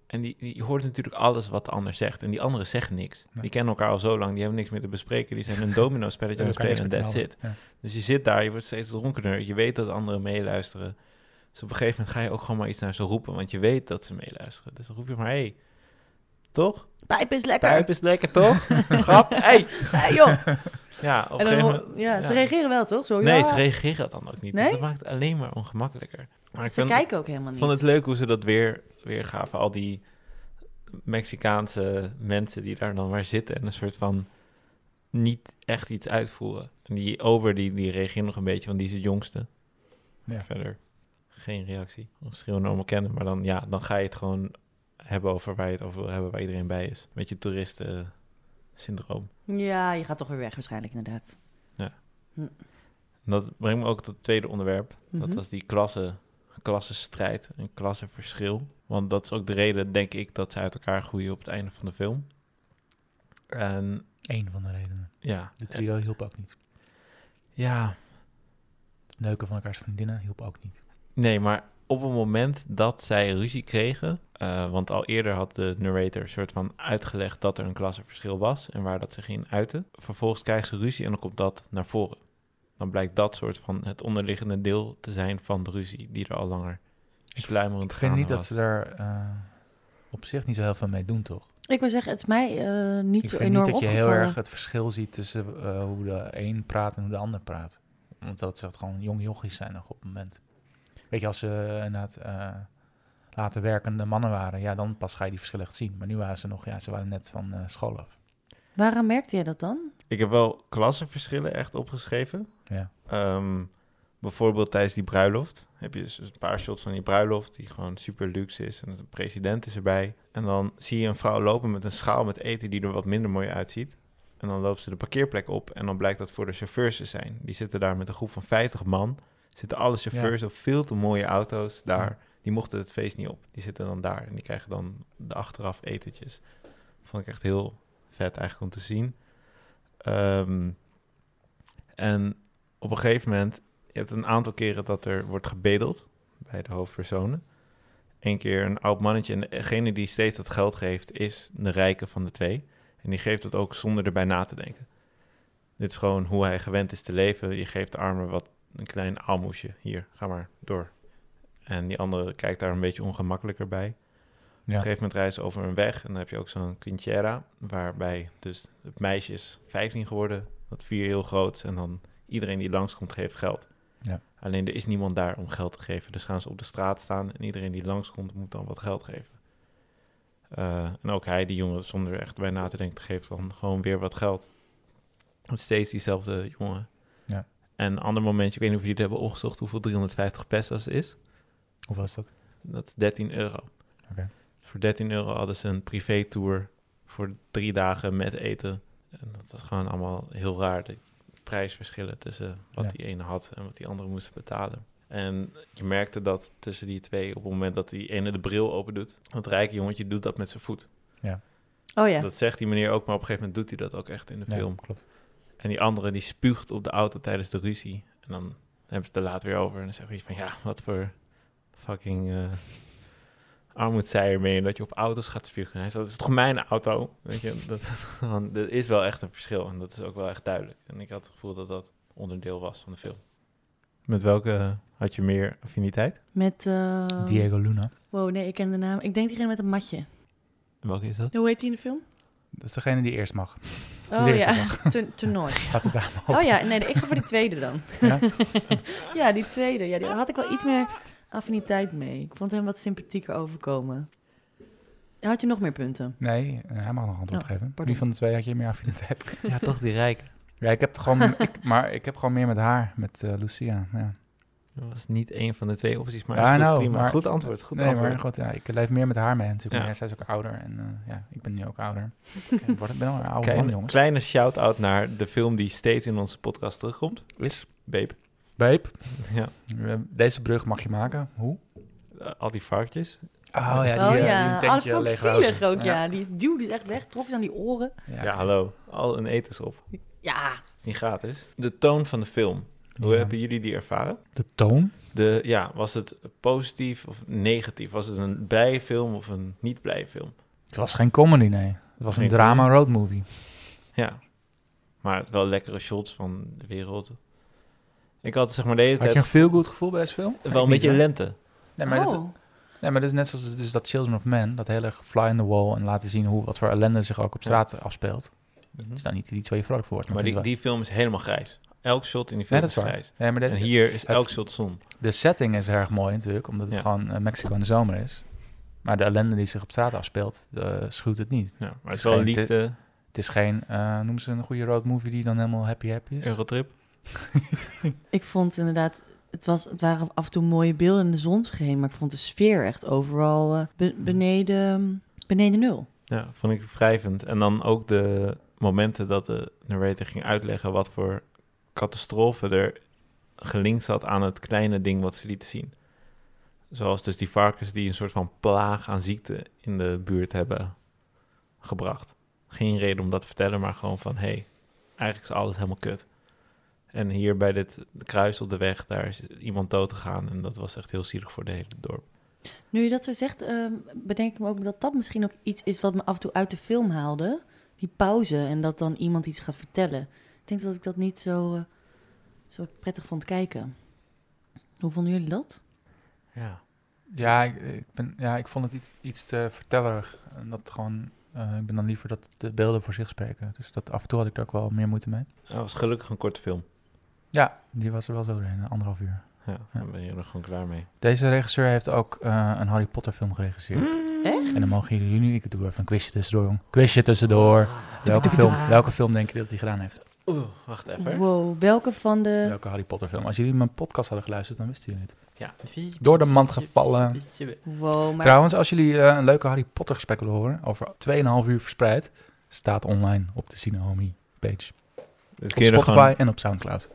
A: En die, die hoort natuurlijk alles wat de ander zegt. En die anderen zeggen niks.
B: Nee.
A: Die kennen elkaar al zo lang, die hebben niks meer te bespreken. Die zijn
B: <laughs>
A: een domino
B: dat
A: spelletje
B: je
A: aan het
B: elkaar
A: spelen en
B: niks meer
A: that's
B: vertelt.
A: it. Dus je zit daar, je wordt steeds dronkener. Je weet dat anderen meeluisteren. Dus op een gegeven moment ga je ook gewoon maar iets naar ze roepen, want je weet dat ze meeluisteren. Dus dan roep je maar, hé, hey, toch?
C: Pijp is lekker!
A: Pijp is lekker,
B: <laughs>
A: toch?
C: <laughs>
A: Grap, hey!
C: Hey, joh!
A: Ja, <laughs> op
C: En
A: een
C: dan
A: gegeven
C: hoor-
A: moment...
C: ja, ze
A: ja.
C: reageren wel, toch? Zo,
A: Nee,
C: ja.
A: ze reageren dat dan ook niet. Dus
C: Nee?
A: dat maakt het alleen maar ongemakkelijker. Maar ik
C: Ze
A: vind-
C: kijken ook helemaal niet.
A: vond het leuk hoe ze dat weer, weer gaven. Al die Mexicaanse mensen die daar dan maar zitten en een soort van niet echt iets uitvoeren. En die ober, die, die reageert nog een beetje, want die is het jongste.
B: Ja.
A: Verder geen reactie. Misschien wel normaal kennen, maar dan, ja, dan ga je het gewoon hebben over waar je het over wil hebben, waar iedereen bij is. Met je toeristensyndroom.
C: Ja, je gaat toch weer weg waarschijnlijk, inderdaad.
A: Dat brengt me ook tot het tweede onderwerp. Dat
C: Mhm.
A: was die klasse, klassenstrijd en klassenverschil. Want dat is ook de reden, denk ik, dat ze uit elkaar groeien op het einde van de film. En
B: Eén van de redenen.
A: ja,
B: De trio hielp ook niet.
A: ja,
B: Het Neuken van elkaars vriendinnen hielp ook niet.
A: nee, maar op het moment dat zij ruzie kregen, eh, want al eerder had de narrator een soort van uitgelegd dat er een klassenverschil was en waar dat zich in uitte. Vervolgens krijgen ze ruzie en dan komt dat naar voren. Dan blijkt dat soort van het onderliggende deel te zijn van de ruzie die er al langer sluimerend
B: Ik vind niet
A: gaande
B: dat ze daar eh, op zich niet zo heel veel mee doen, toch?
C: Ik wil zeggen, het is mij eh, niet
B: Ik
C: zo
B: vind
C: enorm
B: niet dat je heel
C: opgevallen.
B: erg het verschil ziet tussen eh, hoe de een praat en hoe de ander praat. Want dat ze gewoon jong jochies zijn nog op het moment. Weet je, als ze eh, inderdaad eh, later werkende mannen waren, ja, dan pas ga je die verschillen echt zien. Maar nu waren ze nog, ja, ze waren net van eh, school af.
C: Waarom merkte jij dat dan?
A: Ik heb wel klassenverschillen echt opgeschreven.
B: Ja.
A: Ehm, bijvoorbeeld tijdens die bruiloft heb je dus een paar shots van die bruiloft die gewoon super luxe is en de president is erbij. En dan zie je een vrouw lopen met een schaal met eten die er wat minder mooi uitziet. En dan loopt ze de parkeerplek op en dan blijkt dat voor de chauffeurs te zijn. Die zitten daar met een groep van 50 man. Zitten alle chauffeurs op veel te mooie auto's daar. Die mochten het feest niet op. Die zitten dan daar en die krijgen dan de achteraf etentjes. Vond ik echt heel vet eigenlijk om te zien. Ehm, en op een gegeven moment, je hebt een aantal keren dat er wordt gebedeld bij de hoofdpersonen. één keer een oud mannetje. En degene die steeds dat geld geeft, is de rijke van de twee. En die geeft dat ook zonder erbij na te denken. Dit is gewoon hoe hij gewend is te leven. Je geeft de armen wat een klein aalmoesje. Hier, ga maar door. En die andere kijkt daar een beetje ongemakkelijker bij.
B: Ja.
A: Op een gegeven moment rijden ze over een weg en dan heb je ook zo'n quintiera, waarbij dus het meisje is 15 geworden, dat vier heel groot, en dan iedereen die langskomt geeft geld.
B: Ja.
A: Alleen er is niemand daar om geld te geven, dus gaan ze op de straat staan en iedereen die langskomt moet dan wat geld geven. Eh, en ook hij, die jongen, zonder er echt bij na te denken, geeft dan gewoon weer wat geld. Het is steeds diezelfde jongen.
B: Ja.
A: En een ander momentje, ik weet niet of jullie het hebben opgezocht hoeveel 350 pesos is.
B: Hoe was dat?
A: Dat is 13 euro.
B: Oké.
A: Voor 13 euro hadden ze een privé-tour voor drie dagen met eten. En dat was gewoon allemaal heel raar. De prijsverschillen tussen wat
B: Ja.
A: die ene had en wat die andere moest betalen. En je merkte dat tussen die twee, op het moment dat die ene de bril open doet, dat rijke jongetje doet dat met zijn voet.
C: Oh ja.
A: Dat zegt die meneer ook, maar op een gegeven moment doet hij dat ook echt in de
B: Ja,
A: film.
B: klopt.
A: En die andere die spuugt op de auto tijdens de ruzie. En dan hebben ze het er later weer over. En dan zegt hij van ja, wat voor fucking eh armoedzeier ben je dat je op auto's gaat spugen. En hij zegt, dat is toch mijn auto? Weet je, dat, <laughs> dat is wel echt een verschil. En dat is ook wel echt duidelijk. En ik had het gevoel dat dat onderdeel was van de film. Met welke eh, had je meer affiniteit?
C: Met... eh,
B: Diego Luna.
C: Wow, nee, ik ken de naam. Ik denk diegene met een matje.
A: En welke is dat?
C: Hoe heet die in de film?
B: Dat is degene die eerst mag.
C: Oh
B: Leer
C: ja, <laughs> Toer- toernooi.
B: <laughs> Gaat het daar maar op.
C: Oh ja, nee, ik ga voor die tweede dan. <laughs>
B: Ja?
C: Ja, die tweede. Ja, daar had ik wel iets meer affiniteit mee. Ik vond hem wat sympathieker overkomen. Had je nog meer punten?
B: <laughs> Nee, eh, hij mag nog antwoord
C: Oh,
B: geven.
C: pardon.
B: Wie van de twee had je meer affiniteit? <laughs>
A: Ja, toch die rijke.
B: ja, ik heb het gewoon... ik, maar ik heb gewoon meer met haar, met eh, Lucia. Ja.
A: Dat was niet één van de twee opties, maar
B: Ja,
A: is goed,
B: nou,
A: prima.
B: maar-
A: goed antwoord, goed
B: nee,
A: antwoord.
B: maar goed, ja, ik leef meer met haar mee natuurlijk.
A: Ja.
B: Maar ja, zij is ook ouder en eh, ja, ik ben nu ook
C: <laughs>
B: ouder. ik word- ik ben al een oude Oh, man,
A: Kleine,
B: jongens.
A: kleine shout-out naar de film die steeds in onze podcast terugkomt.
B: Is,
A: Babe. <laughs>
B: babe,
A: Ja.
B: eh, deze brug mag je maken. Hoe?
A: Eh, al die varkens.
B: Oh ja, die,
C: oh
B: eh,
C: ja,
B: die een
C: alle
B: tankje
C: vond ik
B: leegruisen.
C: zielig ook, ja.
B: Ja.
C: Die duwde echt weg, trok ze aan die oren.
A: Ja,
B: Ja,
A: hallo. Al een etensop. Het
C: Ja,
A: is niet gratis. De toon van de film. Hoe
B: Ja.
A: hebben jullie die ervaren?
B: De toon?
A: De, ja, was het positief of negatief? Was het een blije film of een niet blije film?
B: Het was geen comedy, nee. Het was
A: Geen
B: een drama road movie.
A: Ja. Maar het wel lekkere shots van de wereld. Ik had zeg maar de hele
B: Had
A: tijd
B: je een veel goed gevoel bij deze film?
A: wel een beetje
B: Nee,
A: lente.
B: Nee, maar, dat,
C: Oh.
B: nee, maar dat is net zoals dus dat Children of Men, dat hele fly in the wall en laten zien hoe wat voor ellende zich ook op straat afspeelt. Het is nou niet iets waar je vrolijk voor wordt.
A: Maar
B: het
A: die,
B: is wel-
A: die film is helemaal grijs. Elk shot in die film
B: nee, dat
A: is
B: is waar.
A: grijs.
B: Nee, maar
A: En
B: de,
A: hier is
B: het-
A: elk shot zon.
B: de setting is erg mooi natuurlijk, omdat het
A: Ja.
B: gewoon eh, Mexico in de zomer is. Maar de ellende die zich op straat afspeelt, eh, schuwt het niet.
A: Ja, maar het is
B: is
A: wel
B: geen te-
A: liefde,
B: Het is geen, eh noem ze een goede road movie die dan helemaal happy happy is.
A: Eurotrip.
C: Ik vond inderdaad, het, was, het waren af en toe mooie beelden en de zon scheen, maar ik vond de sfeer echt overal eh, be- beneden, beneden nul.
A: Ja, vond ik wrijvend. En dan ook de momenten dat de narrator ging uitleggen wat voor catastrofe er gelinkt zat aan het kleine ding wat ze lieten zien. Zoals dus die varkens die een soort van plaag aan ziekte in de buurt hebben gebracht. Geen reden om dat te vertellen, maar gewoon van hé, hey, eigenlijk is alles helemaal kut. En hier bij dit kruis op de weg, daar is iemand dood gegaan. En dat was echt heel zielig voor de hele dorp.
C: Nu je dat zo zegt, ehm, bedenk ik me ook dat dat misschien ook iets is wat me af en toe uit de film haalde. Die pauze en dat dan iemand iets gaat vertellen. Ik denk dat ik dat niet zo, eh, zo prettig vond kijken. Hoe vonden jullie dat?
A: Ja.
B: Ja, ik, ik ben, ja, ik vond het iets, iets te vertellerig. En dat gewoon, eh, ik ben dan liever dat de beelden voor zich spreken. Dus dat, af en toe had ik er ook wel meer moeite mee.
A: Dat was gelukkig een korte film.
B: Ja, die was er wel zo doorheen, een anderhalf uur.
A: Ja, daar ben je er gewoon klaar mee.
B: Deze regisseur heeft ook eh, een Harry Potter film geregisseerd. En dan mogen jullie nu, ik doe even een quizje tussendoor, jong. Quizje tussendoor. Welke film, welke film denk je dat hij gedaan heeft?
A: Oeh, wacht even.
C: Wow, welke van de...
B: Welke Harry Potter film? Als jullie mijn podcast hadden geluisterd, dan wisten jullie het.
A: Ja.
B: Door de mand gevallen.
C: Wow, maar
B: Trouwens, als jullie eh, een leuke Harry Potter gesprek willen horen, over 2,5 uur verspreid, staat online op de Cinehomy page.
A: Dus
B: Op
A: kun je er
B: Spotify
A: gewoon,
B: en op Soundcloud.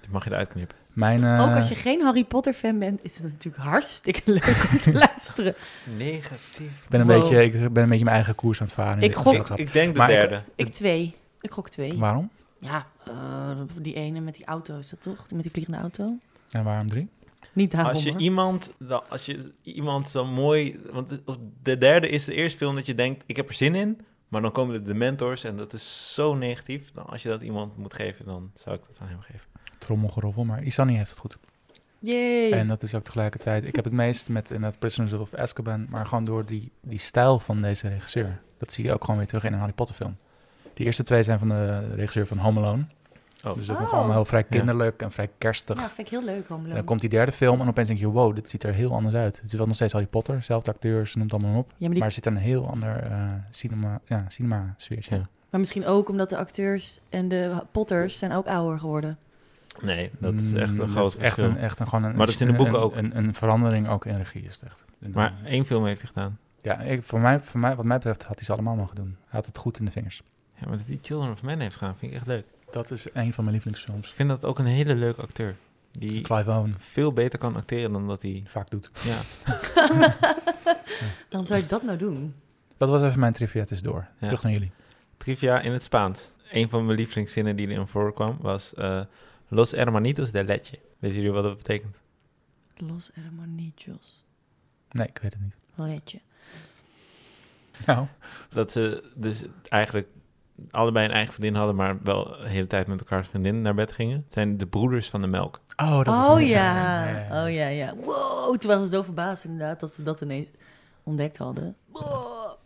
A: dit mag je eruit knippen.
B: Mijn, eh,
C: ook als je geen Harry Potter fan bent, is het natuurlijk hartstikke <laughs> leuk om te luisteren.
A: Negatief.
B: ik, ben een
C: Wow.
B: beetje, ik ben een beetje mijn eigen koers aan het varen. in
C: Ik
B: dit
C: gok-
A: Ik,
B: gezelschap.
A: ik denk de
B: Maar ik-
A: derde.
C: Ik twee. Ik gok twee.
B: Waarom?
C: Ja, eh, die ene met die auto is dat toch? Die Met die vliegende auto?
B: En waarom drie?
C: Niet daarom.
A: Als je,
C: hoor.
A: iemand, dan- als je iemand zo mooi... Want de- de derde is de eerste film dat je denkt, ik heb er zin in. Maar dan komen de dementors en dat is zo negatief. Dan als je dat iemand moet geven, dan zou ik dat aan hem geven.
B: Trommelgeroffel, maar Isani heeft het goed.
C: Yay.
B: En dat is ook tegelijkertijd... Ik heb het meest met inderdaad Prisoners of Azkaban... maar gewoon door die, die stijl van deze regisseur. Dat zie je ook gewoon weer terug in een Harry Potter film. Die eerste twee zijn van de regisseur van Home Alone.
A: Oh.
B: Dus dat is
C: Oh.
B: gewoon heel vrij
A: Ja.
B: kinderlijk en vrij kerstig.
C: Ja, vind ik heel leuk, Home
B: En
C: Alone.
B: dan komt die derde film en opeens denk je... wow, dit ziet er heel anders uit. Het is wel nog steeds Harry Potter, zelfde acteurs, noem het allemaal op.
C: Ja, maar, die-
B: Maar er zit een heel ander eh, cinema, ja, cinema sfeertje.
A: Ja.
C: maar misschien ook omdat de acteurs en de Potters zijn ook ouder geworden.
A: Nee, dat is echt
B: Mm,
A: een
B: dat
A: groot
B: is echt
A: verschil.
B: een, echt een, gewoon een,
A: Maar dat is in de boeken
B: een-
A: ook.
B: Een, een verandering ook in regie is het echt. En dan-
A: Maar één film heeft hij gedaan.
B: ja, ik, voor mij, voor mij, wat mij betreft had hij ze allemaal mogen doen. Hij had het goed in de vingers.
A: Ja, maar dat hij Children of Men heeft gedaan, vind ik echt leuk.
B: Dat is een van mijn
A: Ik
B: lievelingsfilms.
A: vind dat ook een hele leuke acteur. Die
B: Clive Owen
A: veel beter kan acteren dan dat hij...
B: vaak doet.
A: Ja,
C: Waarom zou je dat nou doen?
B: Dat was even mijn trivia tussendoor.
A: Ja.
B: Terug naar jullie.
A: Trivia in het Spaans. Een van mijn lievelingszinnen die erin voorkwam was... eh, Los hermanitos de leche. Weten jullie wat dat betekent?
C: Los hermanillos.
B: Nee, ik weet het niet.
C: Letje.
B: Nou,
A: Dat ze dus eigenlijk allebei een eigen vriendin hadden... maar wel de hele tijd met elkaar vriendin naar bed gingen. Het zijn de broeders van de melk.
B: oh, dat was
C: Oh
B: mooi.
C: ja.
B: Ja, ja, ja.
C: oh ja, ja. Wow, toen waren ze zo verbaasd inderdaad dat ze dat ineens ontdekt hadden. Wow.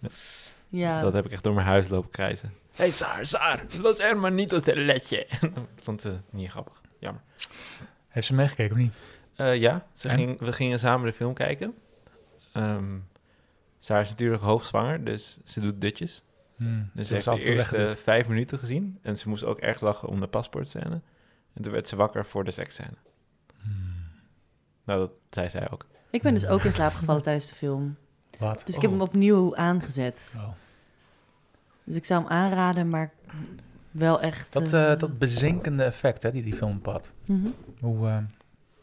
C: Ja,
A: Dat eh. heb ik echt door mijn huis lopen krijzen. hey, Saar, Saar, Los hermanitos de <laughs> leche. Vond ze niet grappig.
B: Heeft ze meegekeken of niet?
A: Eh, ja, ze
B: En?
A: ging, we gingen samen de film kijken. Ehm Saar is natuurlijk hoogzwanger, dus ze doet dutjes.
B: Hmm,
A: Dus
B: ze
A: ze heeft
B: was af
A: de
B: en toe
A: eerste
B: weggedut.
A: vijf minuten gezien. En ze moest ook erg lachen om de paspoortscène. En toen werd ze wakker voor de seksscène.
B: Hmm,
A: Nou, dat zei zij ook.
C: ik ben dus ook in slaap gevallen tijdens de film.
B: Wat?
C: Dus ik heb
A: Oh.
C: hem opnieuw aangezet.
B: Oh.
C: Dus ik zou hem aanraden, maar wel echt...
B: Dat,
C: eh,
B: eh, dat bezinkende effect hè, die die film had.
C: mhm.
B: Hoe, eh,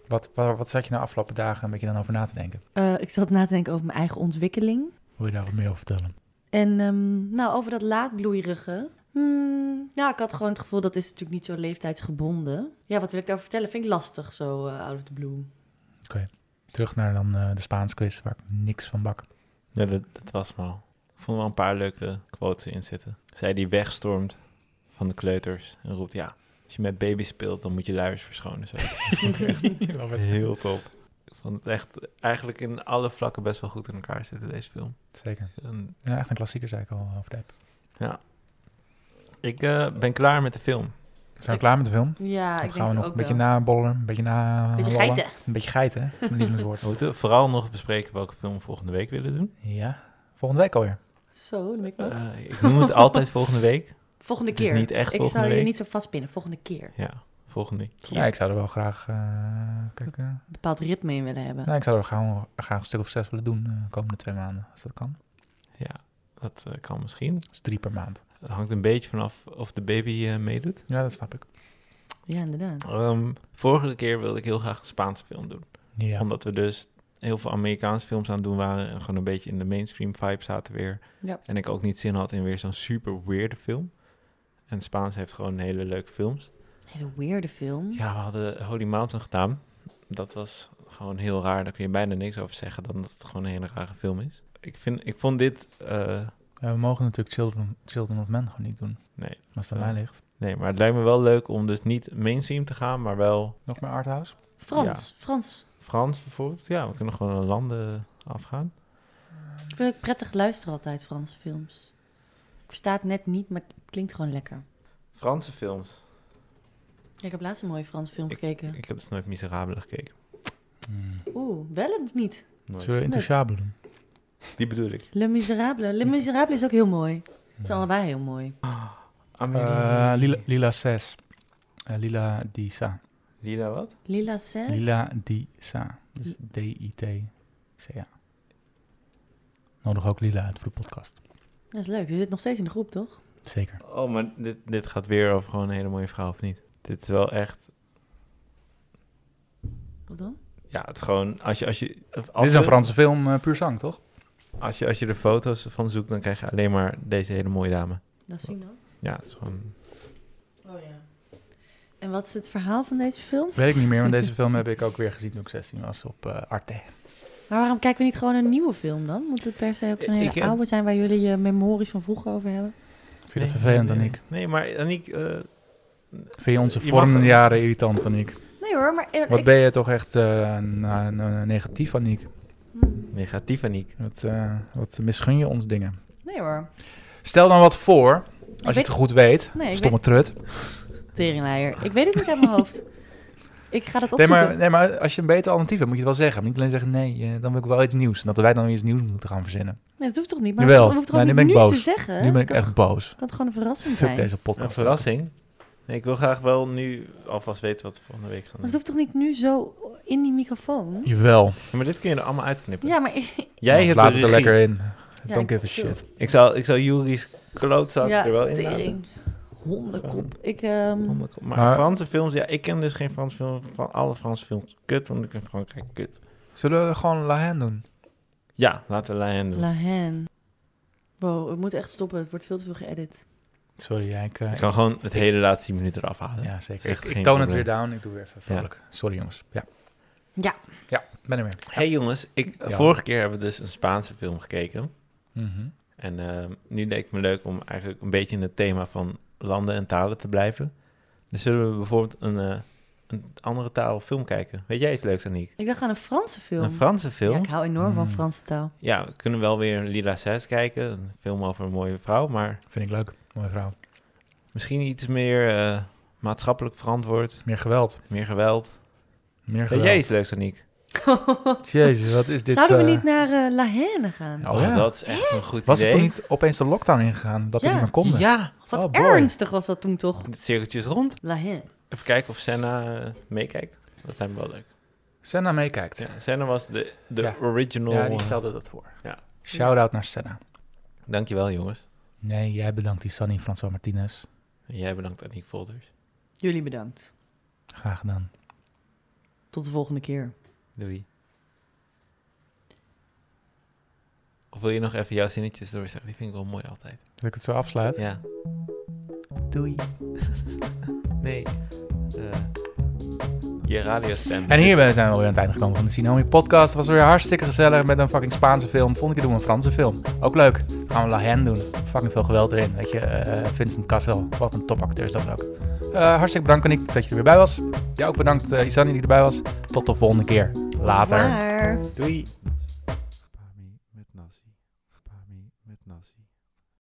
B: wat, wat, wat zat je nou afgelopen dagen een beetje dan over na te denken?
C: Eh, ik zat na te denken over mijn eigen ontwikkeling.
B: Wil je daar wat meer over vertellen?
C: En ehm, nou, over dat laatbloeierige. Hmm, nou, ik had gewoon het gevoel dat is natuurlijk niet zo leeftijdsgebonden. Ja, wat wil ik daarover vertellen? Vind ik lastig zo eh, out of the blue.
B: Terug naar dan eh, de Spaans quiz, waar ik niks van <laughs> bak.
A: Ja, dat, dat was hem al. Ik vond er wel een paar leuke quotes in zitten. Zij die wegstormt van de kleuters en roept... Ja, als je met baby's speelt, dan moet je luiers verschonen. <laughs> Zo. Heel top. Ik vond het echt eigenlijk in alle vlakken best wel goed in elkaar zitten, deze film.
B: Zeker.
A: En
B: Ja, echt een klassieker, zei ik al eh, over de app.
A: Ik eh, ben klaar met de film.
B: Zijn we klaar met de film?
C: Ja,
B: Of
C: ik
B: gaan
C: denk
B: we
C: het
B: nog
C: ook
B: een beetje
C: wel.
B: nabollen, een beetje na...
C: Beetje
B: lollen?
C: geiten.
B: Een beetje geiten, hè? Dat is mijn lievelingswoord. <laughs>
A: We moeten vooral nog bespreken welke film we volgende week willen doen.
B: Ja. Volgende week alweer.
C: Zo, dan ben ik wel.
A: Eh, ik
C: <laughs>
A: noem het altijd volgende week.
C: volgende
A: het is
C: keer.
A: niet echt
C: ik
A: volgende
C: zou je
A: week.
C: niet zo vastpinnen. Volgende keer.
A: Ja, volgende keer.
B: Ja, ik zou er wel graag... eh, kijk, eh,
C: Een bepaald ritme in willen hebben.
B: nou, ik zou er gewoon graag een stuk of zes willen doen eh, de komende twee maanden, als dat kan.
A: Ja, dat eh, kan misschien.
B: Dus drie per maand.
A: Het hangt een beetje vanaf of de baby eh, meedoet.
B: Ja, dat snap ik.
C: Ja, inderdaad.
A: Ehm, vorige keer wilde ik heel graag een Spaanse film doen.
B: Ja.
A: Omdat we dus heel veel Amerikaanse films aan het doen waren. En gewoon een beetje in de mainstream vibe zaten weer.
C: Ja.
A: En ik ook niet zin had in weer zo'n super weirde film. En Spaans heeft gewoon hele leuke films.
C: Hele weirde film.
A: Ja, we hadden Holy Mountain gedaan. Dat was gewoon heel raar. Daar kun je bijna niks over zeggen dan dat het gewoon een hele rare film is. Ik, vind, ik vond dit... eh,
B: Ja, we mogen natuurlijk Children, Children of Men gewoon niet doen,
A: nee,
B: als het aan
A: Eh,
B: mij ligt.
A: nee, maar het lijkt me wel leuk om dus niet mainstream te gaan, maar wel
B: Nog meer Arthouse?
C: Frans. Frans.
A: Frans bijvoorbeeld. Ja, we kunnen gewoon een landen afgaan.
C: Ik vind het prettig luisteren altijd, Franse films. Ik versta het net niet, maar het klinkt gewoon lekker.
A: Franse films.
C: Ja, ik heb laatst een mooie Frans film gekeken.
A: Ik heb dus nooit Miserabele gekeken. Hmm.
C: Oeh, wel of niet?
A: Nooit.
B: Zullen we Intouchable doen?
A: Die bedoel ik.
C: Le Miserable. Le Miserable is ook heel mooi. Ze zijn allebei heel mooi.
A: Ah,
B: Eh, Lila, Lila 6. Eh, Lila Disa.
A: Lila wat?
C: Lila 6.
B: Lila Disa. Dus D-I-T-C-A. Nodig ook Lila uit voor de podcast.
C: Dat is leuk. Ze zit nog steeds in de groep, toch?
B: Zeker.
A: Oh, maar dit, dit gaat weer over gewoon een hele mooie vrouw, of niet? Dit is wel echt...
C: Wat dan?
A: Ja, het is gewoon... Als je, als je, als
B: Dit is een
A: we-
B: Franse film, eh, puur zang, toch?
A: Als je, als je er foto's van zoekt, dan krijg je alleen maar deze hele mooie dame.
C: Dat zien dan.
A: Ja, het is gewoon...
C: Oh ja. En wat is het verhaal van deze film?
B: Weet ik niet meer, want deze film heb ik ook weer gezien toen ik 16 was op eh, Arte.
C: Maar waarom kijken we niet gewoon een nieuwe film dan? Moet het per se ook zo'n hele
A: Ik, eh,
C: oude zijn waar jullie je memories van vroeger over hebben?
B: Vind je dat vervelend,
A: nee,
B: Aniek?
A: Nee, maar Aniek, eh,
B: Vind je onze
A: Je mag-
B: vormende jaren irritant, Aniek?
C: Nee hoor, maar er-
B: Wat
C: ik-
B: ben je toch echt eh, na- na- negatief, Aniek?
C: Hm,
A: negatief Aniek.
B: Wat, eh, wat misgun je ons dingen?
C: Nee hoor.
B: Stel dan wat voor, als
C: weet-
B: je het goed weet.
C: Nee, ik
B: Stomme trut.
C: weet teringleier. Ik weet het niet uit mijn hoofd. Ik ga dat
B: Nee
C: opzoeken.
B: maar, nee, maar als je een beter alternatief hebt, moet je het wel zeggen. Maar niet alleen zeggen, nee, eh, dan wil ik wel iets nieuws. En dat wij dan weer iets nieuws moeten gaan verzinnen.
C: Nee, dat hoeft toch niet? Maar
B: Jawel.
C: dat hoeft toch
B: Nou, nu
C: niet
B: ben
C: nu
B: ik
C: te
B: boos.
C: zeggen?
B: Nu ben ik
C: Dat
B: echt boos.
C: kan toch gewoon een verrassing
B: Fuck
C: zijn?
B: deze
A: Een
B: podcast.
A: verrassing. Nee, ik wil graag wel nu alvast weten wat we volgende week gaan
C: Maar dat
A: doen.
C: hoeft toch niet nu zo in die microfoon?
B: Jawel.
A: Ja, maar dit kun je er allemaal uitknippen.
C: Ja, maar ik-
A: Jij
B: Nou,
A: hebt
B: Laat
A: de
B: het er
A: regie.
B: lekker in.
C: Ja,
B: Don't give a
C: ik-
B: shit.
A: Ik zou, ik zou Juri's klootzak
C: ja,
A: er wel in houden.
C: tering. Hondenkop. Ik, ehm,
A: Oh my god. Maar,
B: Maar-
A: Franse films, ja, ik ken dus geen Franse film. Van alle Franse films kut, want ik vind Frankrijk kut.
B: Zullen we gewoon La Haine doen?
A: Ja, laten we Lion doen.
C: La Haine. Wow, we moeten echt stoppen. Het wordt veel te veel geëdit.
B: Sorry, ja, ik... eh,
A: ik kan gewoon het hele laatste 10 minuten eraf halen.
B: ja,
A: is
B: zeker. Ik,
A: echt
B: ik
A: geen
B: toon het weer
A: probleem.
B: down. Ik doe weer even vrolijk. Sorry, jongens. Ja.
C: Ja.
B: Ja, ben er weer.
A: hey jongens, ik,
B: Ja.
A: vorige keer hebben we dus een Spaanse film gekeken.
B: Mhm.
A: En eh, nu leek het me leuk om eigenlijk een beetje in het thema van landen en talen te blijven. Dus zullen we bijvoorbeeld een, eh, een andere taal film kijken. Weet jij iets leuks, Aniek?
C: Ik dacht aan een Franse film.
A: Een Franse film?
C: Ja,
A: Ja,
C: ik hou enorm van
B: Mm.
C: Franse taal.
A: we kunnen wel weer Lila 6 kijken. Een film over een mooie vrouw, maar
B: Vind ik leuk. Mooie vrouw.
A: misschien iets meer eh, maatschappelijk verantwoord.
B: Meer geweld.
A: Meer geweld.
B: Meer
A: Weet
B: geweld.
A: jij iets leuks, Aniek?
B: Jezus, wat is <laughs> dit...
C: Zouden we
B: eh,
C: niet naar eh, La Haine gaan?
B: Oh, ja.
A: dat is echt een goed
B: Was
A: idee.
B: er toch niet opeens de lockdown ingegaan? Dat
C: Ja.
B: er niet meer konden?
A: Ja,
C: Wat
B: oh, boy.
C: ernstig was dat toen toch?
A: het cirkeltje is rond.
C: La Haine.
A: Even kijken of Senna eh, meekijkt. Dat lijkt me wel leuk.
B: Senna meekijkt.
A: Ja, Senna was de, de
B: Ja.
A: original.
B: Ja, die stelde dat voor.
A: Ja.
B: Shout-out naar Senna.
A: Dankjewel, jongens.
B: Nee, jij bedankt die Sunny François Martinez.
A: En jij bedankt, Aniek Volders.
C: Jullie bedankt.
B: Graag gedaan.
C: Tot de volgende keer.
A: Doei. Of wil je nog even jouw zinnetjes doorzeggen? Die vind ik wel mooi altijd.
B: Dat ik het zo afsluit.
A: Ja.
B: Doei.
A: Nee. Eh, je radiostem.
B: En hierbij zijn we alweer aan het einde gekomen van de Tsunami Podcast. Het was weer hartstikke gezellig met een fucking Spaanse film. Volgende keer doen we een Franse film. Ook leuk. Dan gaan we La Haine doen. Fucking veel geweld erin. Weet je, eh, Vincent Cassel. Wat een topacteur is dat ook. Eh, hartstikke bedankt, Nick, dat je er weer bij was. Jij ook bedankt, eh Isani, die erbij was. Tot de volgende keer. Later.
C: Maar...
A: Doei.